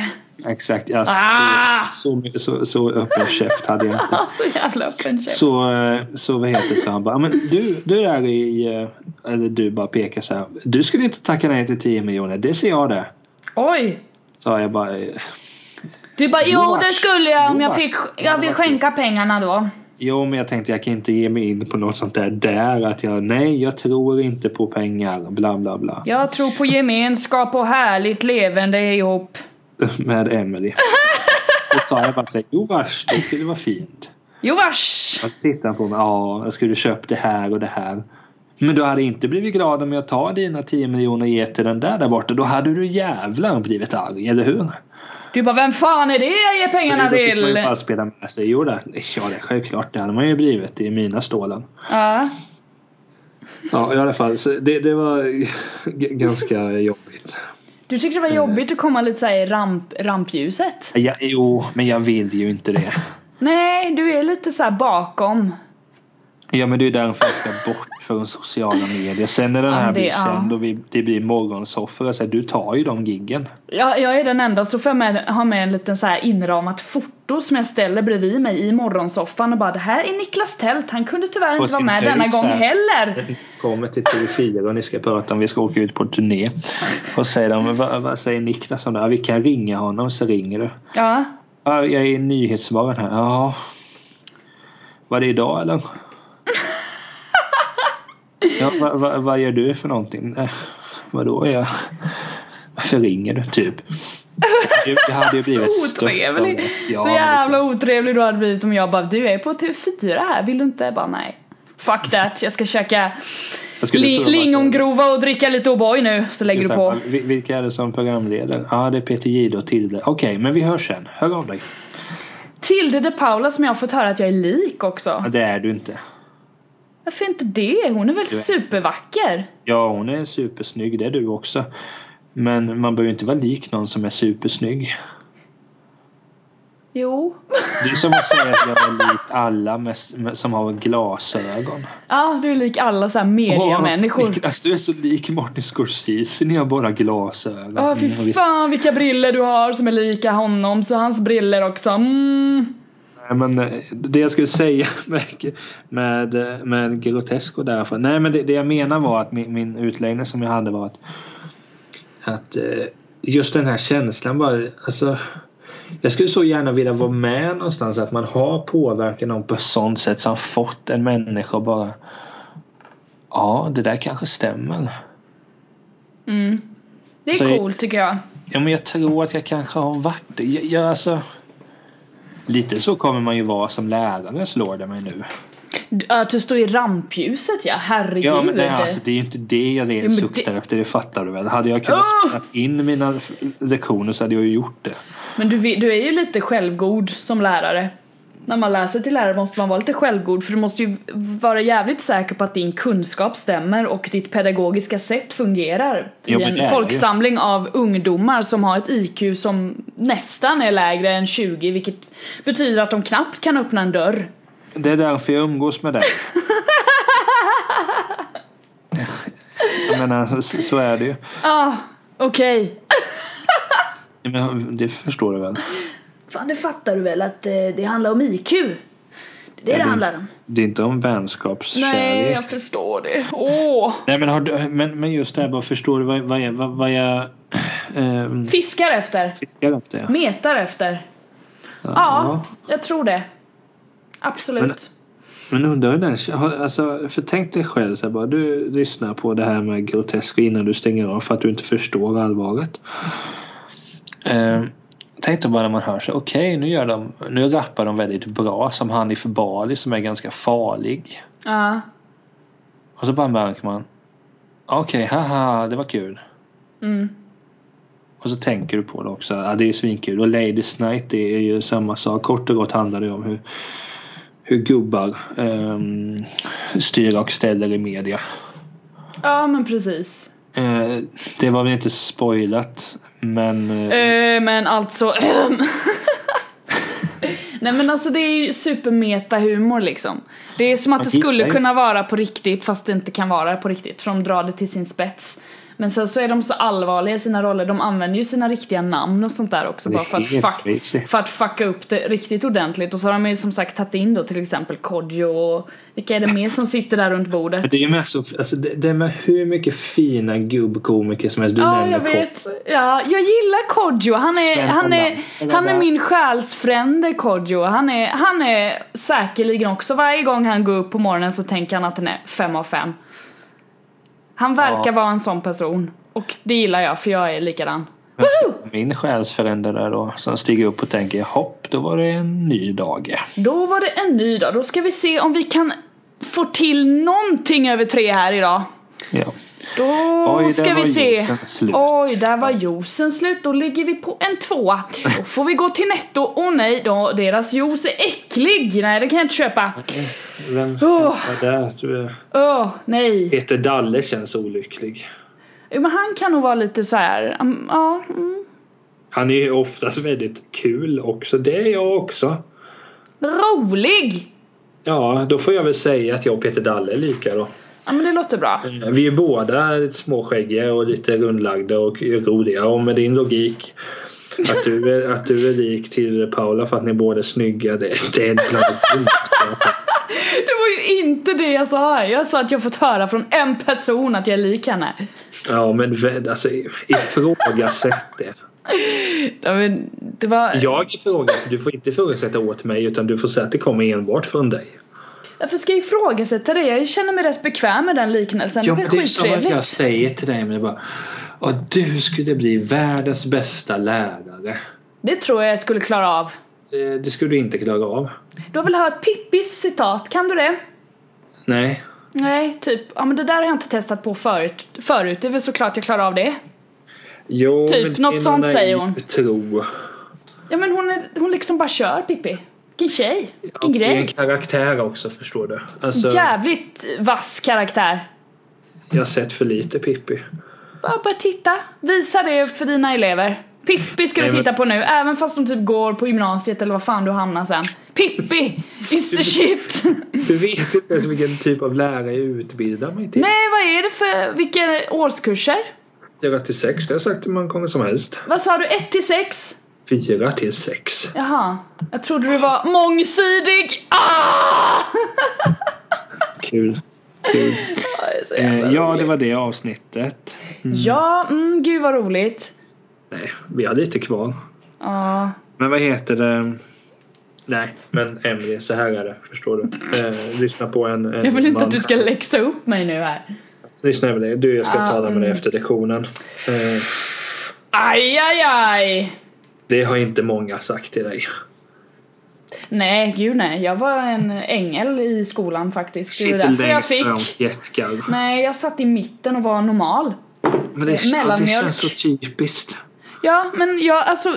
Exakt, alltså, Ah! så, så, så öppen käft hade jag inte. Ah, så jävla öppen käft. Så, eh, så vad heter det, så han bara, men du, du där i, eh," eller du bara pekar så här, du skulle inte tacka nej till 10 miljoner, det ser jag det. Oj! Sa jag bara, "Eh, Du bara jo Joars. det skulle jag om jag Joars. fick, Ja, jag det vill var kul. skänka pengarna då. Jo, men jag tänkte jag kan inte ge mig in på något sånt där där att jag nej, jag tror inte på pengar, bla bla bla. Jag tror på gemenskap och härligt levande ihop. Med Emily. Då sa jag bara så här, jo vars, det skulle vara fint. Jo vars! Och så tittade han på mig, ja, jag skulle köpt det här och det här. Men du hade inte blivit glad om jag tar dina 10 miljoner och ger till den där där borta. Då hade du jävlar blivit arg, eller hur? Du bara vem fan är det jag ger pengarna Då fick man ju till? bara spela med sig. Jo, det, ja, det är självklart, det hade man ju blivit. Det är mina stålar. Ja. Ja, i alla fall. Så det, det var g- ganska jobbigt. Du tyckte Eh. det var jobbigt att komma lite såhär i ramp, rampljuset? Ja, jo, men jag vill ju inte det. Nej, du är lite såhär bakom. Ja, men det är ju därför jag ska bort från sociala medier. Sen när den Ja, här det- blir känd ja. och vi, det blir morgonsoffer, så här, du tar ju de giggen. Jag, jag är den enda så får jag med, ha med en liten så här inramat foto som jag ställer bredvid mig i morgonsoffan och bara det här är Niklas Tält, han kunde tyvärr På inte vara sin med höjd denna så gång här. heller. Kommer till TV4 och ni ska prata om vi ska åka ut på turné. Och säger de, "Men vad, vad säger Niklas om det? Ja, vi kan ringa honom, så ringer du. Ja, Ja, jag är i nyhetsmorgon här. Ja. Var det idag eller? Ja, vad, vad, vad gör du för någonting? Eh, vadå? Jag... Varför ringer du? Typ. Det, det hade ju så blivit stört av otrevlig. det. Ja, så men det- jävla otrevlig du hade blivit om jag bara du jag är på TV4 här, vill du inte? Jag bara nej. Fuck that, jag ska käka jag skulle li- prova- lingongrova och dricka lite O'boy nu så lägger du på. Vil- Vilka är det som programleder? Ja, det är Peter Jihde och Tilde. Okej, men vi hörs sen. Hör av dig. Tilde de Paula som jag har fått höra att jag är lik också. Ja, det är du inte. Varför inte det? Hon är väl Du är- supervacker? Ja, hon är supersnygg. Det är du också. Men man behöver ju inte vara lik någon som är supersnygg. Jo. Det är som att säga att jag är lik alla med, med, som har glasögon. Ja, du är lik alla så här Åh, mediamänniskor. Niklas, du är så lik Martin Scorsese när jag bara glasögon. Ja, fy Mm, och vi- fan vilka briller du har som är lika honom, så hans briller också. Mm. Nej, men eh, det jag skulle säga med, med, eh, med Grotesco därför. Nej, men det, det jag menar var att min, min utläggning som jag hade var att, att eh, just den här känslan bara, alltså jag skulle så gärna vilja vara med någonstans att man har påverkat någon på ett sånt sätt som fått en människa att bara Ja, det där kanske stämmer. Mm. Det är Så jag- coolt tycker jag. Ja, men jag tror att jag kanske har varit det. Jag, jag, alltså, lite så kommer man ju vara som lärare slår det mig nu. D- Att du står i rampljuset ja, herregud. Ja men nej, alltså, det är ju inte det jag men det- suktar efter, det fattar du väl? Hade jag kunnat Åh! spela in mina f- lektioner så hade jag ju gjort det. Men du, vi- du är ju lite självgod som lärare. När man läser till lärare måste man vara lite självgod för du måste ju vara jävligt säker på att din kunskap stämmer och ditt pedagogiska sätt fungerar Jo, men i det är en det ju. folksamling av ungdomar som har ett IQ som nästan är lägre än 20 vilket betyder att de knappt kan öppna en dörr. Det är därför jag umgås med dig. jag menar, så, så är det ju. Ah, Okej. Ja, Men det förstår du väl? Fan, det fattar du väl att eh, det handlar om IQ? Det är det Ja, det du- handlar om. Det är inte om vänskapskärlek. Nej, jag förstår det. Åh! Nej men, har du, men, men just det här bara förstår du vad, vad, jag- vad, vad jag ehm, Fiskar efter. fiskar efter? Ja. Metar efter. Ja, jag tror det. Absolut. Men undrar hur den har- alltså, för tänk dig själv så här, bara du lyssnar på det här med groteska innan du stänger av för att du inte förstår allvaret. Ehm, tänk dig bara när man hör så här, okej nu gör de, nu rappar de väldigt bra som Hanif Bali som är ganska farlig. Ja. Och så bara märker man, okej haha det var kul. Mm. Och så tänker du på det också. Ja, det är ju svinkul. Och Ladies Night det är ju samma sak. Kort och gott handlar det om hur, hur gubbar ehm, styr och ställer i media. Ja, men precis. Eh, det var väl inte spoilat men eh, Eh, men alltså... ehm. Nej men alltså det är ju supermeta-humor liksom. Det är som att det Man hittar skulle ju- kunna vara på riktigt fast det inte kan vara på riktigt för de drar det till sin spets. Men sen så är de så allvarliga i sina roller, de använder ju sina riktiga namn och sånt där också Det är bara för att, helt fuck, crazy. för att fucka upp det riktigt ordentligt. Och så har de ju som sagt tagit in då till exempel Kodjo och vilka är det mer som sitter där runt bordet? det är med så, alltså, det, det är med hur mycket fina gubbkomiker som helst. Du Ja, nämner jag Kort. vet. Ja, jag gillar Kodjo. Han är, Sven han är, Hollander. han är min själsfrände Kodjo. Han är, han är säkerligen också, varje gång han går upp på morgonen så tänker han att den är fem av fem. Han verkar Ja. vara en sån person. Och det gillar jag för jag är likadan. Woho! Min själsförändrare där då som stiger upp och tänker hopp då var det en ny dag. Då var det en ny dag. Då ska vi se om vi kan få till någonting över tre här idag. Ja. Då Oj, där ska var vi se. juicen slut. Oj, där var juicen slut. Då ligger vi på en tvåa. Då får vi gå till Netto. Åh nej, då, deras juice är äcklig. Nej, det kan jag inte köpa. Vem Åh. var där? tror jag? Åh, nej. Peter Dalle känns olycklig. Jo, Men han kan nog vara lite så här. mm, ja. Mm. Han är ju oftast väldigt kul också. Det är jag också. Rolig! Ja, då får jag väl säga att jag och Peter Dalle är lika då. Ja, men det låter bra. Vi är båda lite småskäggiga och lite rundlagda och roliga. Och med din logik att du är, att du är lik till Paula för att ni båda är snygga. Det, det är bland det dummaste. Det var ju inte det jag sa här. Jag sa att jag fått höra från en person att jag är lik henne. Ja, men vä- alltså ifrågasätt det. Ja, men det var... Jag ifrågasätter. Du får inte ifrågasätta åt mig utan du får säga att det kommer enbart från dig. Varför ska jag ifrågasätta det? Jag känner mig rätt bekväm med den liknelsen. Ja, det men är det är som att skittrevligt. jag säger till dig men jag bara "Ja, du skulle bli världens bästa lärare. Det tror jag jag skulle klara av. Eh, Det skulle du inte klara av. Du har väl hört Pippis citat, kan du det? Nej. Nej, typ, ja men det där har jag inte testat på förut, förut. det är väl såklart jag klarar av det. Jo, Typ, men det är något någon sånt säger naiv hon. Tro. Ja men hon, är, hon liksom bara kör Pippi. Vilken tjej, vilken Det är en grej. karaktär också förstår du. Alltså, Jävligt vass karaktär. jag har sett för lite Pippi. Bara, bara titta, visa det för dina elever. Pippi ska du Nej, men- titta på nu, även fast de typ går på gymnasiet eller vad fan du hamnar sen. Pippi is the shit! Du vet inte ens vilken typ av lärare jag utbildar mig till. Nej vad är det för, vilka årskurser? 4 till 6, det har jag sagt hur många gånger som helst. Vad sa du, 1 till 6? 4 till 6. Jaha, jag trodde du var mångsidig! Ah! Kul. Kul. det är så jävla Eh, ja, det roligt. var det avsnittet. Ja, mm, gud vad roligt. Nej, vi har lite kvar. Ja, Men vad heter det? Nej, men Emily, så här är det. Förstår du? Eh, lyssna på en, en jag vill inte man. att du ska läxa upp mig nu här. Lyssna Emily, du jag ska Ah, tala med dig mm. efter lektionen. Eh, Aj, aj, aj! det har inte många sagt till dig. Nej, gud nej. Jag var en ängel i skolan faktiskt. Det var Sitter därför jag längst fick. fram, fjäskar. Nej, jag satt i mitten och var normal. Men det, ja, det mellanmjölk. känns så typiskt. Ja, men jag, alltså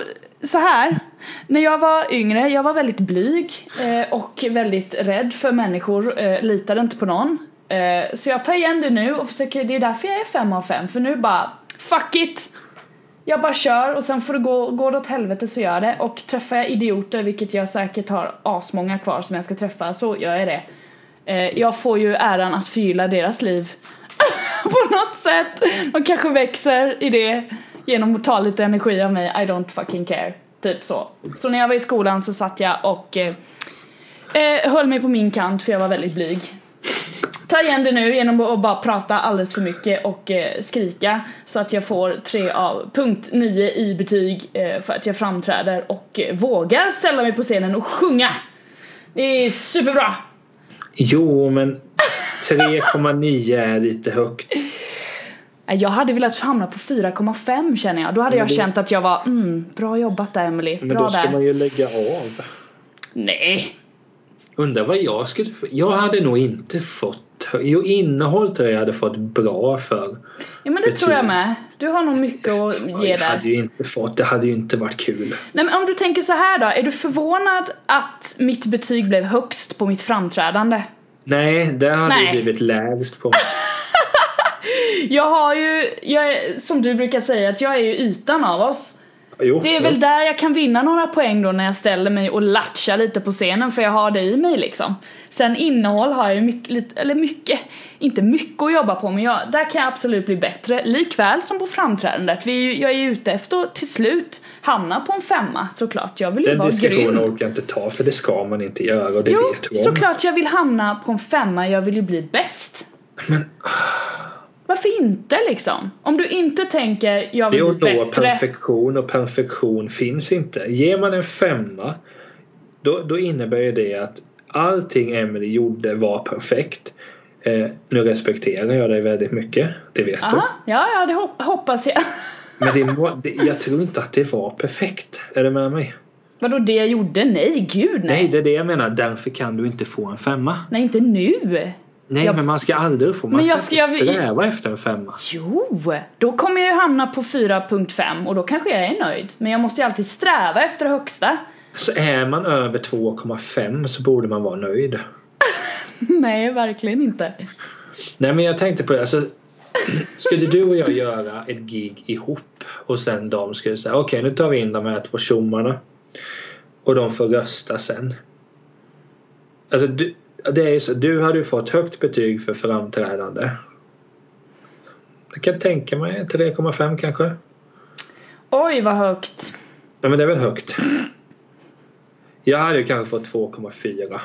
så här. När jag var yngre, jag var väldigt blyg eh, och väldigt rädd för människor, eh, litade inte på någon. Eh, så jag tar igen det nu och försöker, det är därför jag är fem av fem för nu bara fuck it! Jag bara kör och sen får det gå, går det åt helvete så gör jag det och träffar jag idioter, vilket jag säkert har asmånga kvar som jag ska träffa, så gör jag det. Eh, jag får ju äran att förgylla deras liv på något sätt. De kanske växer i det. genom att ta lite energi av mig, I don't fucking care. Typ så. Så när jag var i skolan så satt jag och eh, eh, höll mig på min kant för jag var väldigt blyg. Ta igen det nu genom att bara prata alldeles för mycket och eh, skrika så att jag får tre av punkt 9 i betyg eh, för att jag framträder och eh, vågar ställa mig på scenen och sjunga. Det är superbra! Jo, men 3,9 är lite högt. Nej, Jag hade velat hamna på 4,5 känner jag. Då hade Men jag det- känt att jag var mm, bra jobbat där Emily. Men bra då ska där. man ju lägga av. Nej! Undrar vad jag skulle... Jag hade nog inte fått... Jo, innehåll tror jag jag hade fått bra för. Ja men det Betyg. tror jag med. Du har nog mycket att ge Jag där. hade ju inte fått... Det hade ju inte varit kul. Nej men om du tänker så här då. Är du förvånad att mitt betyg blev högst på mitt framträdande? Nej, det hade Nej. ju blivit lägst på. Jag har ju, jag är, som du brukar säga, att jag är ju ytan av oss. Jo, Det är jo. väl där jag kan vinna några poäng då när jag ställer mig och latchar lite på scenen för jag har det i mig liksom. Sen innehåll har jag ju mycket, lite, eller mycket, inte mycket att jobba på men jag, där kan jag absolut bli bättre. Likväl som på framträdandet. Vi, är ju- jag är ju ute efter att till slut hamna på en femma såklart. Jag vill ju Den vara diskussionen grym. orkar jag inte ta för det ska man inte göra och det Jo, vet du om. såklart jag vill hamna på en femma, jag vill ju bli bäst. Men Varför inte liksom? Om du inte tänker jag det är vill att bli nå bättre. perfektion och perfektion finns inte. Ger man en femma då, då innebär ju det att allting Emily gjorde var perfekt. Eh, nu respekterar jag dig väldigt mycket, det vet Aha, ja ja det hop- hoppas jag. du. Men det, var- det, jag tror inte att det var perfekt. Är du med mig? Vadå det jag gjorde? Nej, gud nej. Nej, Nej, det är det jag menar. Därför kan du inte få en femma. inte nu. Nej, Jag- men man ska aldrig få. Man Men ska, jag ska- inte jag- sträva efter en femma. Jo, då kommer jag ju hamna på 4.5 och då kanske jag är nöjd. Men jag måste ju alltid sträva efter det högsta. Så är man över 2,5 så borde man vara nöjd. nej, verkligen inte. Nej men jag tänkte på det. Alltså, skulle du och jag göra ett gig ihop och sen de skulle säga okej nu tar vi in de här två tjommarna och de får rösta sen. Alltså du, det är ju så, du hade ju fått högt betyg för framträdande. Jag kan tänka mig 3,5 kanske. Oj, vad högt. Ja men det är väl högt. Jag hade ju kanske fått 2,4.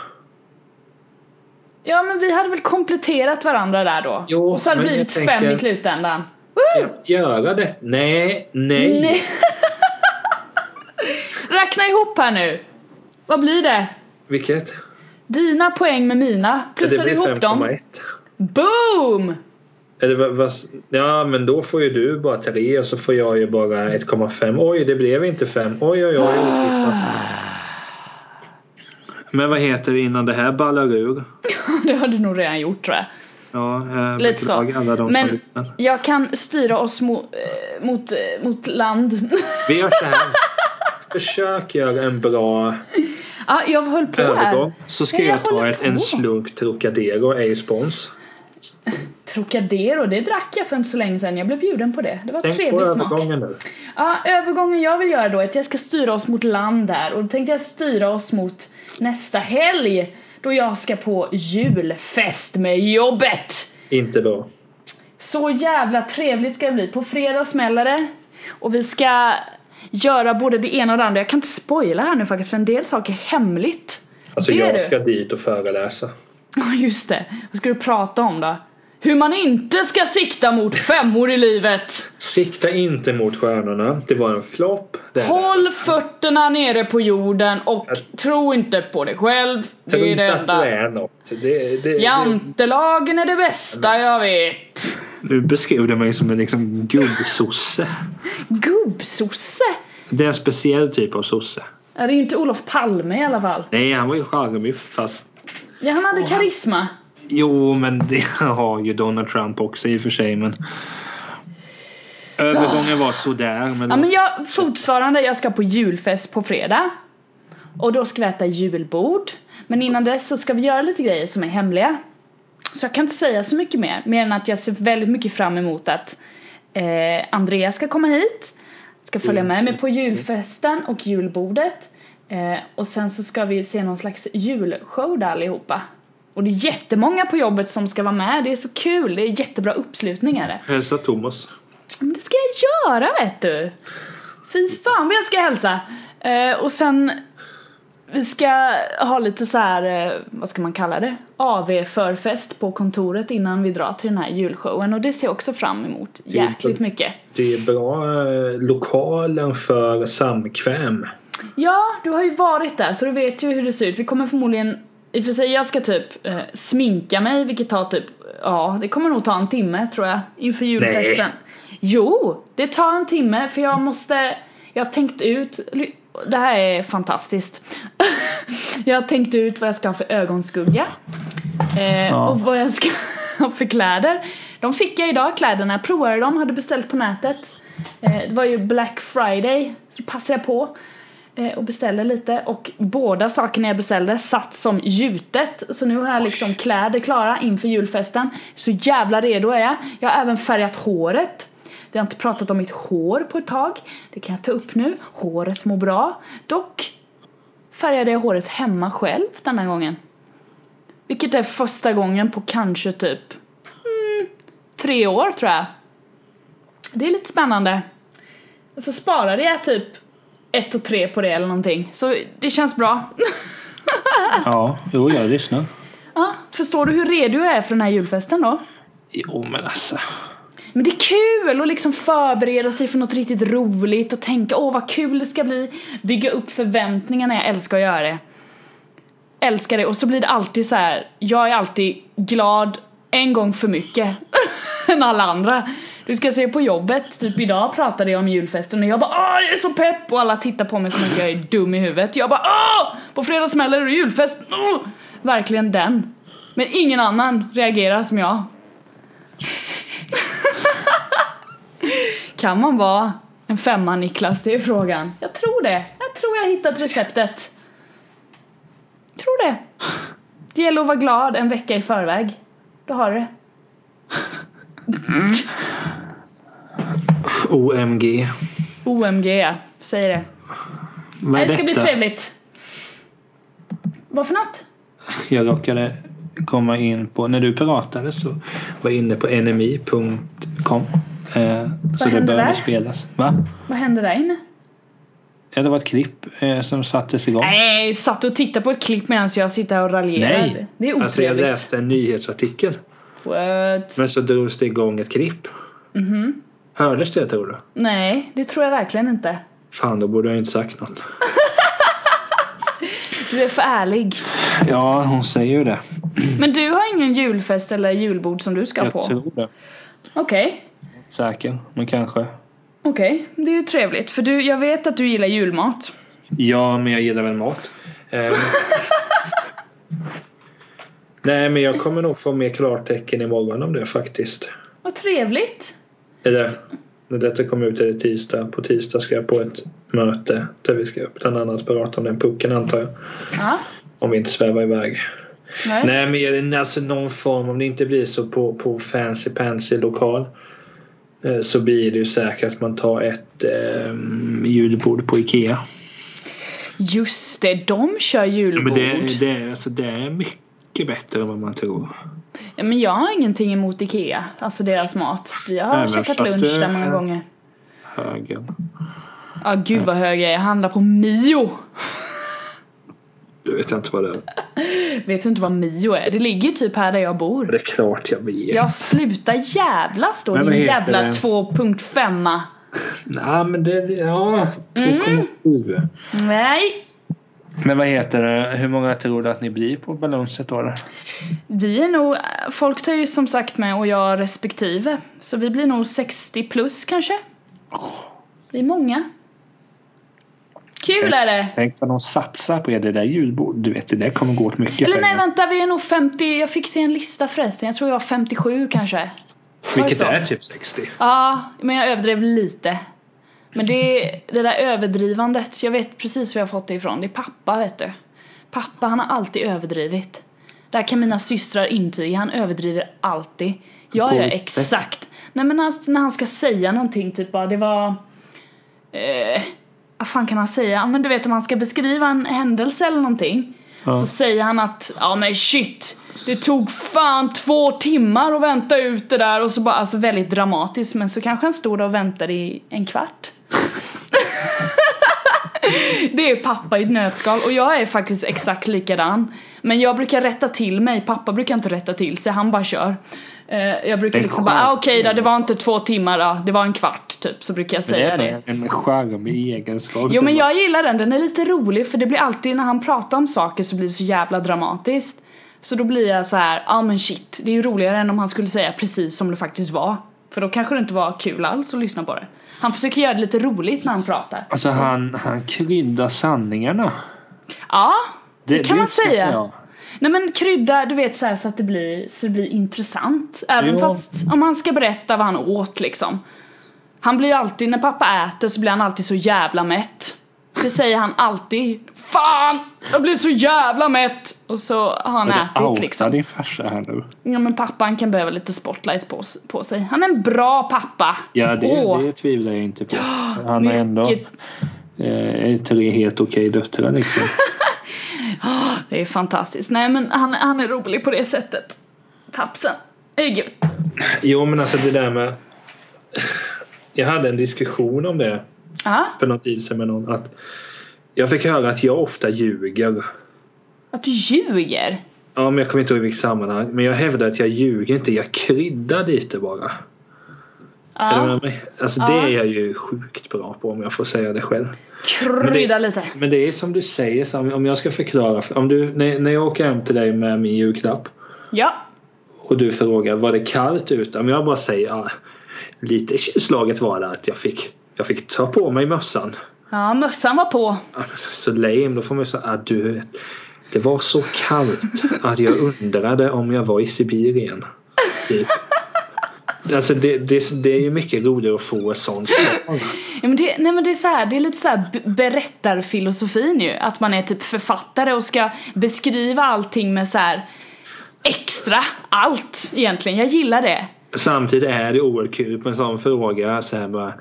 Ja, men vi hade väl kompletterat varandra där då. Jo, och så hade det men blivit jag 5 tänker- i slutändan. Woo! Att göra det? Nej, nej. Nej. Räkna ihop här nu. Vad blir det? Vilket? Dina poäng med mina. Plussar du ihop dem? 5,1. Boom! Eller vad, vad, ja men då får ju du bara 3 och så får jag ju bara 1,5. Oj det blev inte 5. Oj oj oj. Men vad heter det innan det här ballar ur? Det har du nog redan gjort tror jag. Ja, eh, jag Lite så. beklagar alla de som Men lyssnar. jag kan styra oss mo- eh, mot, eh, mot land. Vi gör så här. Försök göra en bra ja, jag höll på här. övergång. Så ska Men jag jag ta håller ett, en på. slunk Trocadero, ej spons. Trocadero, det drack jag för inte så länge sedan. Jag blev bjuden på det. Det var Tänk på trevlig smak. övergången nu. Ja, övergången jag vill göra då är att jag ska styra oss mot land här. Och då tänkte jag styra oss mot nästa helg. Då jag ska på julfest med jobbet. Inte bra. Så jävla trevligt ska det bli. På fredag smäller det. Och vi ska göra både det ena och det andra. Jag kan inte spoila här nu faktiskt för en del saker är hemligt. Alltså det är jag du. ska dit och föreläsa. Ja just det. Vad ska du prata om då? Hur man inte ska sikta mot femmor i livet. Sikta inte mot stjärnorna. Det var en flopp. Det är det. Håll fötterna nere på jorden och tro inte på dig själv. Tro Det är det inte att du enda. är något. Det, det, det, Jantelagen är det bästa jag vet. Nu beskrev du mig som en liksom gubbsosse. Gubbsosse? Det är en speciell typ av sosse. Ja, Det är inte Olof Palme i alla fall. Nej, han var ju charmig fast... Ja, han hade karisma. Jo, men det har ju Donald Trump också i och för sig. Men... Övergången var sådär. Men... Ja men jag, fortfarande, jag ska på julfest på fredag. Och då ska vi äta julbord. Men innan dess så ska vi göra lite grejer som är hemliga. Så jag kan inte säga så mycket mer, mer än att jag ser väldigt mycket fram emot att eh, Andreas ska komma hit. Ska följa med mig på julfesten och julbordet. Eh, och sen så ska vi se någon slags julshow där allihopa. Och det är jättemånga på jobbet som ska vara med, det är så kul, det är jättebra uppslutningar. Hälsa Thomas. Men det ska jag göra vet du. Fy fan vad jag ska hälsa. Eh, och sen vi ska ha lite så här, eh, vad ska man kalla det? AV förfest på kontoret innan vi drar till den här julshowen och det ser jag också fram emot är inte- jäkligt mycket. Det är bra eh, lokalen för samkväm. Ja, du har ju varit där så du vet ju hur det ser ut. Vi kommer förmodligen, i och för sig jag ska typ eh, sminka mig vilket tar typ, ja det kommer nog ta en timme tror jag inför julfesten. Jo, det tar en timme för jag måste, jag har tänkt ut, ly- det här är fantastiskt. jag har tänkt ut vad jag ska ha för ögonskugga. Eh, Ja. Och vad jag ska ha för kläder. De fick jag idag kläderna, jag provade dem, hade beställt på nätet. Eh, det var ju Black Friday, så passade jag på eh, och beställde lite och båda sakerna jag beställde satt som gjutet så nu har jag liksom kläder klara inför julfesten. Så jävla redo är jag. Jag har även färgat håret. Vi har inte pratat om mitt hår på ett tag. Det kan jag ta upp nu. Håret mår bra. Dock färgade jag håret hemma själv denna gången. Vilket är första gången på kanske typ mm, tre år tror jag. Det är lite spännande. Och så sparade jag typ ett och tre på det eller någonting. Så det känns bra. Ja, jo jag lyssnar. Ja, förstår du hur redo jag är för den här julfesten då? Jo men alltså. Men det är kul att liksom förbereda sig för något riktigt roligt och tänka åh vad kul det ska bli. Bygga upp förväntningarna, jag älskar att göra det. Älskar det och så blir det alltid så här. jag är alltid glad en gång för mycket än alla andra. Du ska se på jobbet, typ idag pratade jag om julfesten och jag bara åh jag är så pepp och alla tittar på mig som att jag är dum i huvudet. Jag bara åh! På fredag smäller det julfest! Åh! Verkligen den. Men ingen annan reagerar som jag. Kan man vara en femma Niklas? Det är frågan. Jag tror det. Jag tror jag har hittat receptet. Tror det. Det gäller att vara glad en vecka i förväg. Du har du det. OMG. OMG, ja. säger det. Vad Nej, är det ska bli detta? trevligt. Vad för något? Jag råkade komma in på, när du pratade så var jag inne på nmi.com. Eh, så det hände började där? spelas. Va? Vad hände där inne? Ja, det var ett klipp eh, som sattes igång. Nej, satt och tittade på ett klipp medan jag sitter här och raljerar. Nej. Det är Alltså jag otrevligt. läste en nyhetsartikel. What? Men så drogs det igång ett klipp. Mhm. Hördes det tror du? Nej, det tror jag verkligen inte. Fan, då borde jag inte sagt något. Du är för ärlig. Ja, hon säger ju det. Men du har ingen julfest eller julbord som du ska Jag på? tror det. Okej, Säker, men kanske. okej. Det är ju trevligt för du, jag vet att du gillar julmat. Ja, men jag gillar väl mat. Ehm. Nej, men jag kommer nog få mer klartecken imorgon om det faktiskt. Vad trevligt! Eller när detta kommer ut är det tisdag. På tisdag ska jag på ett möte där vi ska bland annat prata om den pucken antar jag. Ja, Om vi inte svävar iväg. nej. Nej men är det alltså någon form, om det inte blir så på, på fancy pansy lokal. eh, Så blir det ju säkert att man tar ett eh, julbord på Ikea. Just det, de kör Men julbord. det, det, alltså, det är mycket bättre än vad man tror. Ja, men jag har ingenting emot Ikea, alltså deras mat. Vi har Nej, men käkat fast lunch du- där många ja. gånger. Högen. Ja, gud vad hög jag är. Jag handlar på Mio. Du vet jag inte vad det är. Vet du inte vad Mio är? Det ligger ju typ här där jag bor. Det är klart jag vet. Ja, sluta jävla står Men din vad heter jävla det? 2.5. Nej men det, det- ja. Mm. 2,7. Nej, Men vad heter det? Hur många tror du att ni blir på balanset då? Vi är nog, folk tar ju som sagt med och jag respektive. Så vi blir nog 60 plus kanske. Vi är många. Kul är det! Tänk vad de satsar på er, det där julbordet. Du vet, det där kommer gå åt mycket Eller nej vänta, vi är nog 50, jag fick se en lista förresten. Jag tror jag var 57 kanske. Vilket Var det så? är typ 60. Ja, men jag överdrev lite. Men det, det där överdrivandet, jag vet precis var jag fått det ifrån. Det är pappa vet du. Pappa han har alltid överdrivit. Där kan mina systrar intyga, han överdriver alltid. Jag På gör vilket sätt? exakt. Nej men när, när han ska säga någonting, typ bara det var... Eh, vad fan kan han säga? Ja, Men du vet om han ska beskriva en händelse eller någonting. Ja. Så säger han att ja men shit det tog fan två timmar att vänta ut det där och så bara alltså väldigt dramatiskt men så kanske han stod där och väntade i en kvart. det är pappa i ett nötskal och jag är faktiskt exakt likadan. Men jag brukar rätta till mig, pappa brukar inte rätta till sig, han bara kör. Eh, Jag brukar Det är liksom bara, skönt. ah, okej då, det var inte två timmar då, det var en kvart typ, så brukar jag säga det. en charmig egenskap. Jo men jag gillar den, den är lite rolig för det blir alltid när han pratar om saker så blir det så jävla dramatiskt. Så då blir jag så här, ja ah, men shit, det är ju roligare än om han skulle säga precis som det faktiskt var. För då kanske det inte var kul alls att lyssna på det. Han försöker göra det lite roligt när han pratar. Alltså han, han kryddar sanningarna. Ja, Det, kan man uppskattar säga. jag. nej men krydda, du vet så här så att det blir, så det blir intressant. Även Jo. fast om han ska berätta vad han åt liksom. Han blir ju alltid, när pappa äter så blir han alltid så jävla mätt. Det säger han alltid. Fan! Jag blir så jävla mätt! Och så har han Och du ätit outar liksom. din farsa här nu. Ja men pappan kan behöva lite spotlights på, på sig. Han är en bra pappa. Ja det, Åh, det tvivlar jag inte på. Han har ändå vilket- eh, tre helt okej döttrar liksom. Det är fantastiskt. Nej men han, han är rolig på det sättet. Pappsen. Det är gött. Jo men alltså det där med Jag hade en diskussion om det Ja, för någon tid sedan med någon att Jag fick höra att jag ofta ljuger att du ljuger. Ja men jag kommer inte ihåg i vilket sammanhang men jag hävdar att jag ljuger inte jag kryddar lite bara Ja. Är du med mig? Alltså det Ja. är jag ju sjukt bra på om jag får säga det själv Krydda lite. Men det är som du säger Sam, om jag ska förklara om du, när, när jag åker hem till dig med min julklapp Ja. och du frågar var det kallt ute? Om jag bara säger ah, lite kylslaget var det att jag fick, jag fick ta på mig mössan. Ja, mössan var på. Ah, Så lame, då får man ju säga ah, du vet, det var så kallt att jag undrade om jag var i Sibirien. Typ. Alltså det, det, det är ju mycket roligare att få ett sånt svar. Ja, men det, nej men det är så här, det är lite så här b- berättarfilosofin ju. Att man är typ författare och ska beskriva allting med så här extra allt egentligen. Jag gillar det. Samtidigt är det oerhört kul på en sån fråga så här bara,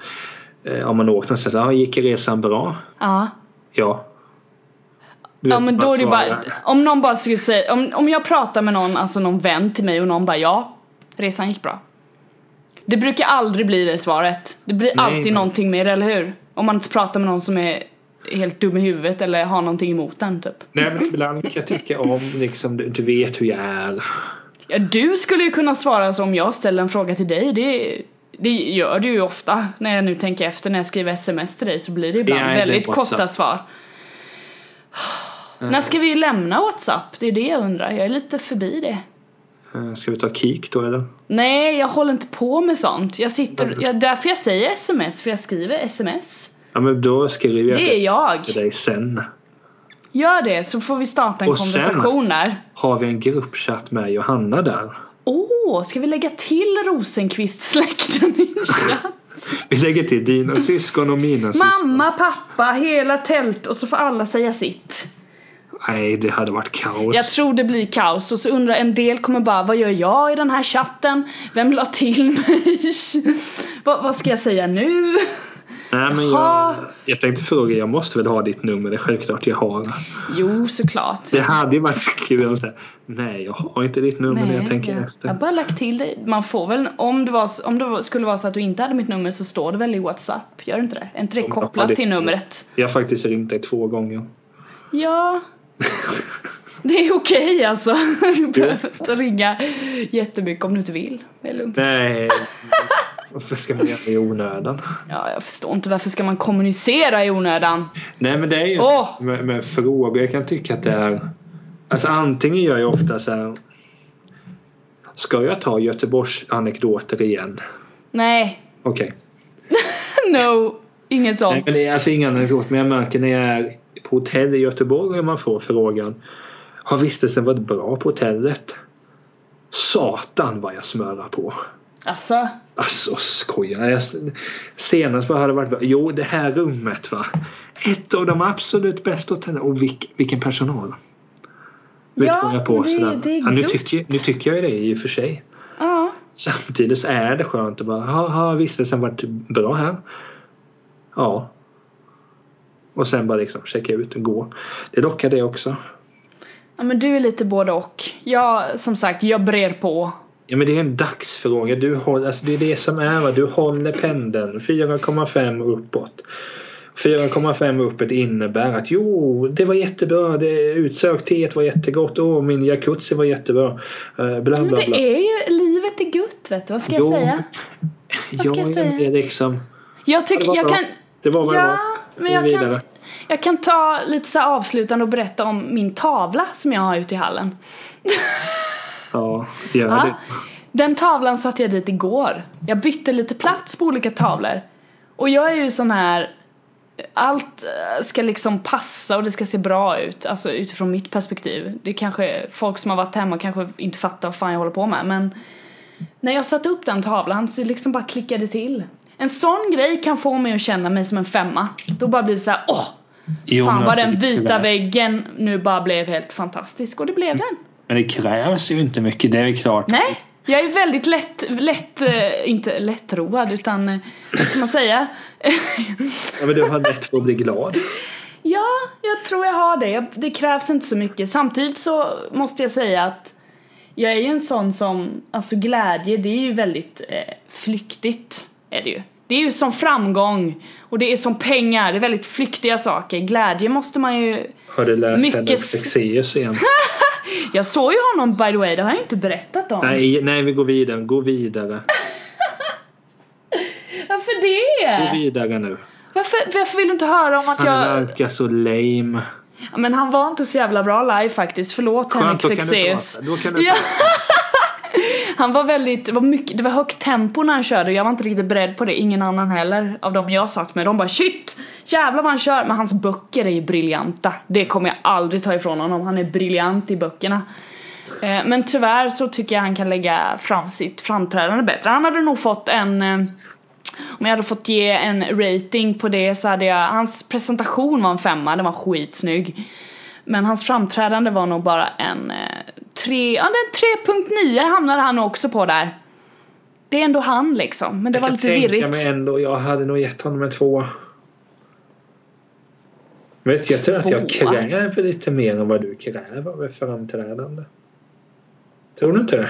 eh, om man åkt någonstans, ah, gick resan bra? Ja. Ja. Du Ja vet, men man då är det bara, svarar. om någon bara skulle säga, om, om jag pratar med någon, alltså någon vän till mig och någon bara ja, resan gick bra. Det brukar aldrig bli det svaret. Det blir Nej, alltid nej. någonting mer, eller hur? Om man inte pratar med någon som är helt dum i huvudet eller har någonting emot den typ. Nej men ibland kan jag tycka om liksom, du, du vet hur jag är. Ja, du skulle ju kunna svara så om jag ställer en fråga till dig. Det, det gör du ju ofta. När jag nu tänker efter när jag skriver sms till dig så blir det ibland Ja, det är väldigt WhatsApp. korta svar. När ska vi lämna WhatsApp? Det är det jag undrar. Jag är lite förbi det. Eh, Ska vi ta kik då eller? Nej, jag håller inte på med sånt. Jag sitter, jag, därför jag säger sms, för jag skriver sms. Ja men då skriver jag Det är jag. till dig sen. Gör det så får vi starta en Och sen- konversation där. Har vi en gruppchatt med Johanna där? Åh, ska vi lägga till Rosenqvist-släkten i en chatt? Vi lägger till dina syskon och mina syskon. Mamma, pappa, hela tält och så får alla säga sitt. Nej det hade varit kaos. Jag tror det blir kaos och så undrar en del kommer bara vad gör jag i den här chatten? Vem la till mig? vad, vad ska jag säga nu? Nej, men jag, Jaha. jag tänkte fråga, jag måste väl ha ditt nummer? Det är självklart jag har. Jo, såklart. Det hade ju varit så kul om så här, Nej jag har inte ditt nummer när jag tänker jag, efter. jag har bara lagt till dig. Man får väl, om det, var, s- om det var- skulle vara så att du inte hade mitt nummer så står det väl i WhatsApp? Gör det inte det? Är inte det jag har kopplat det. till numret? Jag har faktiskt ringt dig två gånger. Ja. Det är okej alltså. Du behöver inte ringa jättemycket om du inte vill. Det är lugnt. Nej. Varför ska man göra det i onödan? Ja, jag förstår inte varför ska man kommunicera i onödan? Nej men det är ju Åh! med, med frågor. Jag kan tycka att det är Alltså antingen gör jag ofta så här Ska jag ta Göteborgs anekdoter igen? Nej, Okej. no, inget Nej, sånt. men det är alltså inga anekdoter men jag märker när jag är på hotell i Göteborg och man får frågan Har vistelsen varit bra på hotellet? Satan vad jag smörar på. Alltså, Alltså skojar jag? Senast vad har det varit? Jo det här rummet va. Ett av de absolut bästa hotellen. Och vilk, vilken personal. Vet Ja, du vad jag på det- sådär. det är ja, nu, gott. tycker, nu tycker jag ju det i och för sig. ja. Samtidigt så är det skönt att bara, ha, ha vistelsen varit bra här? Ja. Och sen bara liksom checka ut och gå. Det lockar det också. Ja, men du är lite både och. Jag, som sagt, jag brer på. Ja men det är en dagsfråga. Du håller, alltså det är det som är. Va? Du håller pendeln 4,5 uppåt. 4,5 uppåt innebär att jo, det var jättebra. Det utsökt teet var jättegott. Åh, min jacuzzi var jättebra. Uh, bla, bla, Men bla. det är ju, livet är gött vet du, vad ska jag Jo, säga? vad ska jag jag är säga? liksom... Ja, Jag tycker, det var jag bra. kan... Det var vad det Ja, var. men Gå jag kan, vidare. jag kan ta lite så här avslutande och berätta om min tavla som jag har ute i hallen. Ja, gör Ja. det. Den tavlan satte jag dit igår. Jag bytte lite plats på olika tavlor. Och jag är ju sån här... Allt eh, ska liksom passa och det ska se bra ut, alltså utifrån mitt perspektiv. Det kanske folk som har varit hemma kanske inte fattar vad fan jag håller på med men när jag satte upp den tavlan så det liksom bara klickade till. En sån grej kan få mig att känna mig som en femma. Då bara blir det så här, åh! Jo, Fan men vad alltså, den det vita klä- väggen nu bara blev helt fantastisk och det blev den. Men det krävs ju inte mycket, det är klart. Nej, jag är väldigt lätt, lätt, eh, inte lättroad utan eh, vad ska man säga? Ja, men du har lätt för att bli glad. ja, jag tror jag har det. Jag, det krävs inte så mycket. Samtidigt så måste jag säga att jag är ju en sån som, alltså glädje det är ju väldigt eh, flyktigt. Är det ju. Det är ju som framgång och det är som pengar, det är väldigt flyktiga saker. Glädje måste man ju Har du läst Mycket Henrik s- Fexeus igen? Jag såg ju honom by the way, det har jag ju inte berättat om. Nej, nej, vi går vidare. Gå vidare. Varför Gå det? vidare nu. Varför, varför vill du inte höra om att Han jag... verkar så lame. Ja, Men han var inte så jävla bra live faktiskt, förlåt Skönt, då Henrik kan du Fexeus. prata. Då kan du Ja. Han var väldigt, det var mycket, det var högt tempo när han körde jag var inte riktigt beredd på det, ingen annan heller av dem jag satt med. De bara shit! Jävlar vad han kör! Men hans böcker är ju briljanta. Det kommer jag aldrig ta ifrån honom, han är briljant i böckerna. Eh, Men tyvärr så tycker jag han kan lägga fram sitt framträdande bättre. Han hade nog fått en eh, om jag hade fått ge en rating på det så hade jag, hans presentation var en femma, den var skitsnygg. Men hans framträdande var nog bara en eh, tre, ja den 3.9 hamnade han också på där. Det är ändå han liksom, men det var jag lite kan virrigt. tänka mig ändå, jag hade nog gett honom en tvåa. Vet jag tror att jag Tvåa? kräver lite mer än vad du kräver av ett framträdande. Tror du inte det?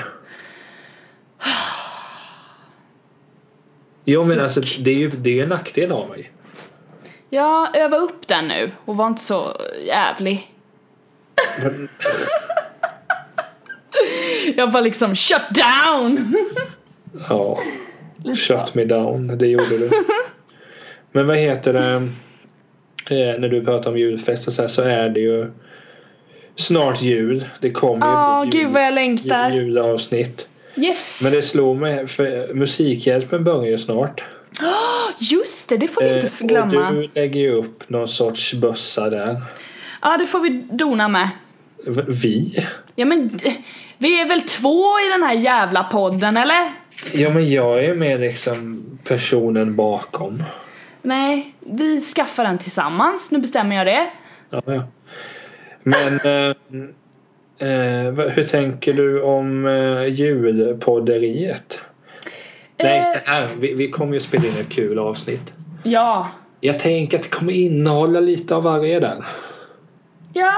Jo men alltså det är ju det är en nackdel av mig. Ja, öva upp den nu och var inte så jävlig. jag var liksom shut down! Ja. Shut me down, det gjorde du. Men vad heter det? Eh, när du pratar om julfest och så, här, så är det ju snart jul. Det kommer Ja, ju bli gud vad jag längtar. julavsnitt. Yes! Men det slog mig, för Musikhjälpen börjar ju snart. Just det, det får vi inte Eh, glömma. Och du lägger ju upp någon sorts bössa där. Ja, det får vi dona med. V- Vi? Ja, men d- vi är väl två i den här jävla podden, eller? Ja men jag är ju med liksom personen bakom. Nej, vi skaffar den tillsammans. Nu bestämmer jag det. Ja, ja. Men eh, eh, vad- hur tänker du om eh, julpodderiet? Nej, Eh. så här, vi, vi kommer ju spela in ett kul avsnitt. Ja. Jag tänker att det kommer innehålla lite av varje där. Ja,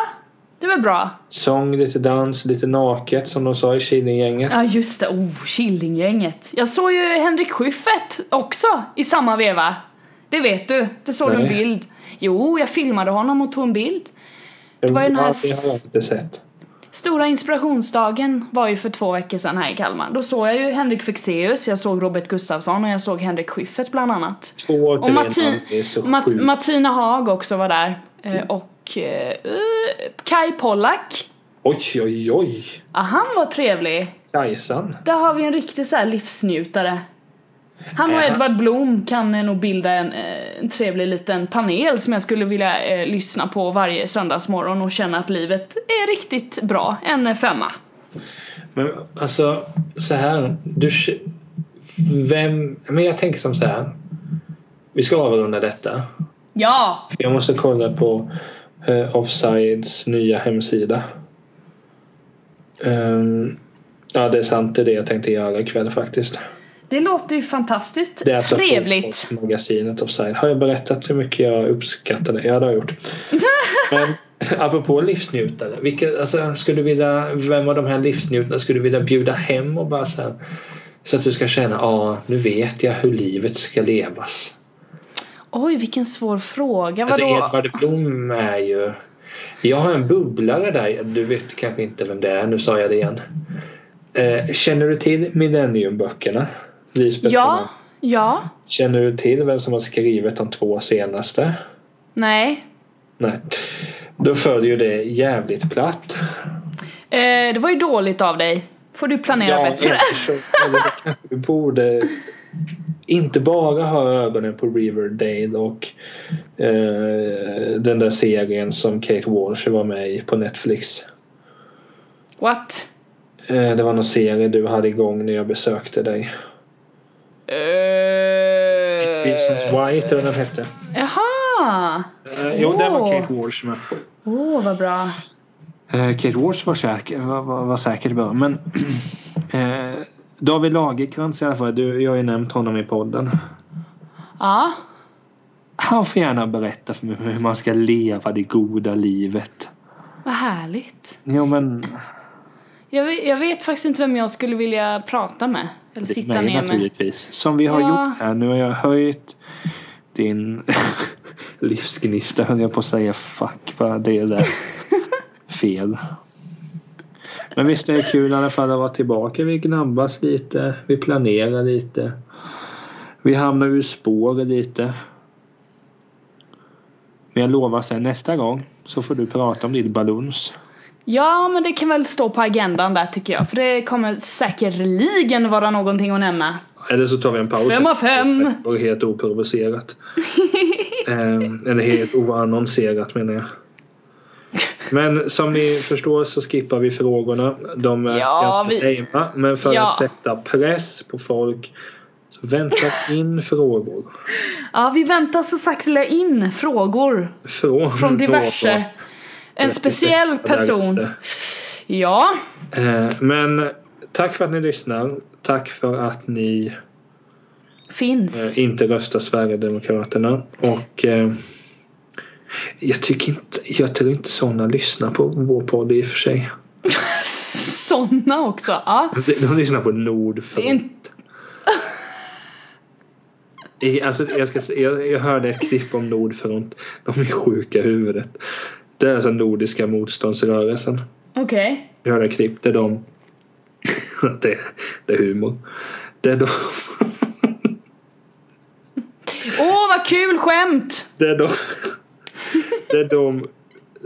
det var bra. Sång, lite dans, lite naket som de sa i Killinggänget. Ja, just det. Oh, Killinggänget. Jag såg ju Henrik Schyffert också i samma veva. Det vet du. Det såg du en Nej. bild. Jo, jag filmade honom och tog en bild. Det var ju den här Det har jag inte sett. Stora inspirationsdagen var ju för två veckor sedan här i Kalmar. Då såg jag ju Henrik Fexeus, jag såg Robert Gustafsson och jag såg Henrik Schyffert bland annat. Två av Och tre Martin, namn är så Mat, sjukt. Mm. Martina Haag också var där. Eh, och eh, eh, Kai Pollak. Oj, oj, oj! Ah, han var trevlig. Kajsan. Där har vi en riktig så här livsnjutare. Han och Ja. Edvard Blom kan eh, nog bilda en, eh, en trevlig liten panel som jag skulle vilja eh, lyssna på varje söndagsmorgon och känna att livet är riktigt bra. En eh, femma. Men alltså så här. Du, vem, men jag tänker som så här. Vi ska avrunda detta. Ja! Jag måste kolla på eh, Offsides nya hemsida. Ehm, ja det är sant, det är det jag tänkte göra ikväll faktiskt. Det låter ju fantastiskt Det är alltså trevligt. fotbollsmagasinet Offside. Har jag berättat hur mycket jag uppskattar det? Ja det har jag gjort. Men Apropå livsnjutare. Vilka, alltså, skulle du vilja, vem av de här livsnjutarna skulle du vilja bjuda hem och bara så här, Så att du ska känna, ja ah, nu vet jag hur livet ska levas. Oj, vilken svår fråga. Alltså Vadå? Edvard Blom är ju... Jag har en bubblare där. Du vet kanske inte vem det är. Nu sa jag det igen. Eh, känner du till Millenniumböckerna? Lisbeth ja, Salander. ja, Känner du till vem som har skrivit de två senaste? nej. Nej. Då föll ju det jävligt platt. Eh, det var ju dåligt av dig. Får du planera bättre. eftersom- eller då kanske du borde inte bara ha ögonen på Riverdale och eh, den där serien som Kate Walsh var med i på Netflix. What? Eh, det var någon serie du hade igång när jag besökte dig. Vincent Eh... White eller vad den hette. Jaha! Eh, jo, där var Åh. Kate Walsh med. Åh, vad bra. Eh, Kate Walsh var, säker, var, var, var säkert bra. Men eh, David Lagercrantz i alla fall. Du, jag har ju nämnt honom i podden. Ja. Han får gärna berätta för mig hur man ska leva det goda livet. Vad härligt. Jo men Jag vet, jag vet faktiskt inte vem jag skulle vilja prata med. Eller det är sitta mig ner med. naturligtvis. Som vi har Ja. gjort här. Nu har jag höjt din livsgnista höll jag på att säga. Fuck vad det är där. fel. Men visst är det kul i alla fall att vara tillbaka. Vi gnabbas lite. Vi planerar lite. Vi hamnar ur spår lite. Men jag lovar sen nästa gång så får du prata om ditt ballons. Ja, men det kan väl stå på agendan där tycker jag. För det kommer säkerligen vara någonting att nämna. Eller så tar vi en paus. Fem av fem. Det var helt oprovocerat. Ehm, eller helt oannonserat menar jag. Men som ni förstår så skippar vi frågorna. De är Ja, ganska vi- lame. Men för Ja. att sätta press på folk så väntar in frågor. Ja, vi väntar så sakta in frågor Från, från diverse. någon. En speciell person. Ja, Ehm, Men tack för att ni lyssnar. Tack för att ni finns. Eh, inte rösta Sverigedemokraterna. Och eh, jag tycker inte, jag tror inte sådana lyssnar på vår podd i och för sig. Såna också. Ja. De, Alltså, de lyssnar på Nordfront. In- I- Alltså, jag, ska, se- jag, jag hörde ett klipp om Nordfront. De är sjuka i huvudet. Det är alltså Nordiska motståndsrörelsen. Okej. Jag hörde ett klipp där de... det, det är humor. Där de, Åh, vad kul skämt! där de, där de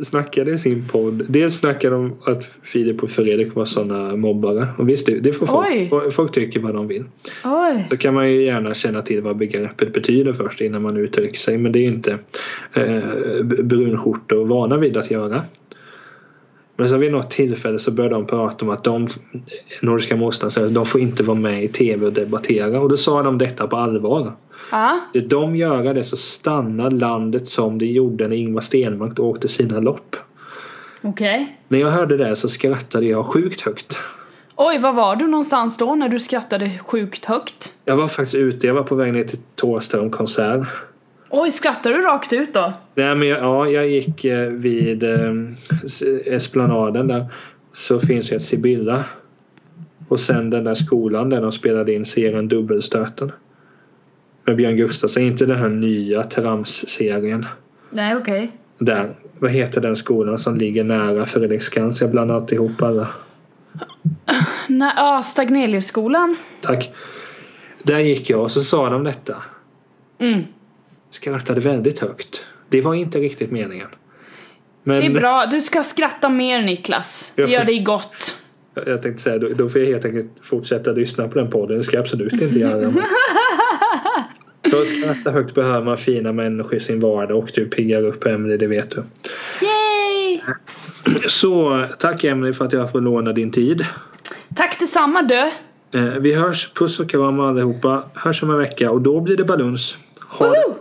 snackade i sin podd. Dels snackade de att Filip och Fredrik var sådana mobbare. Och visst, det, det får Oj. folk. folk. Folk tycker vad de vill. Oj. Så kan man ju gärna känna till vad begreppet betyder först innan man uttrycker sig. Men det är ju inte eh, b- brunskjortor vana vid att göra. Men så vid något tillfälle så började de prata om att de, Nordiska motståndsrörelsen, de får inte vara med i tv och debattera. Och då sa de detta på allvar. Ja. Det de göra det så stannar landet som det gjorde när Ingvar Stenmark åkte sina lopp. Okej. När jag hörde det så skrattade jag sjukt högt. Oj, var var du någonstans då när du skrattade sjukt högt? Jag var faktiskt ute, jag var på väg ner till Thåström konsert. Oj, skrattade du rakt ut då? Nej men jag, ja, jag gick eh, vid eh, s- Esplanaden där. Så finns ju ett Sibylla. Och sen den där skolan där de spelade in serien Dubbelstöten. Med Björn Gustafsson, inte den här nya trams-serien. Nej, okej. Där, vad heter den skolan som ligger nära Fredriksskans? Jag blandar alltid ihop alla. Nej, ja, Stagneliusskolan. Tack. Där gick jag och så sa de detta. Mm. Skrattade väldigt högt. Det var inte riktigt meningen. Men Det är bra, du ska skratta mer Niklas. Det gör dig gott. Jag- Jag tänkte säga, då, då får jag helt enkelt fortsätta lyssna på den podden. Det ska jag absolut inte göra. men- För att skratta högt behöver man fina människor i sin vardag och du piggar upp Emily, det vet du. Yay! Så tack Emily för att jag får låna din tid. Tack detsamma du. Eh, Vi hörs, puss och kram allihopa. Hörs om en vecka och då blir det baluns. Ha det Woho!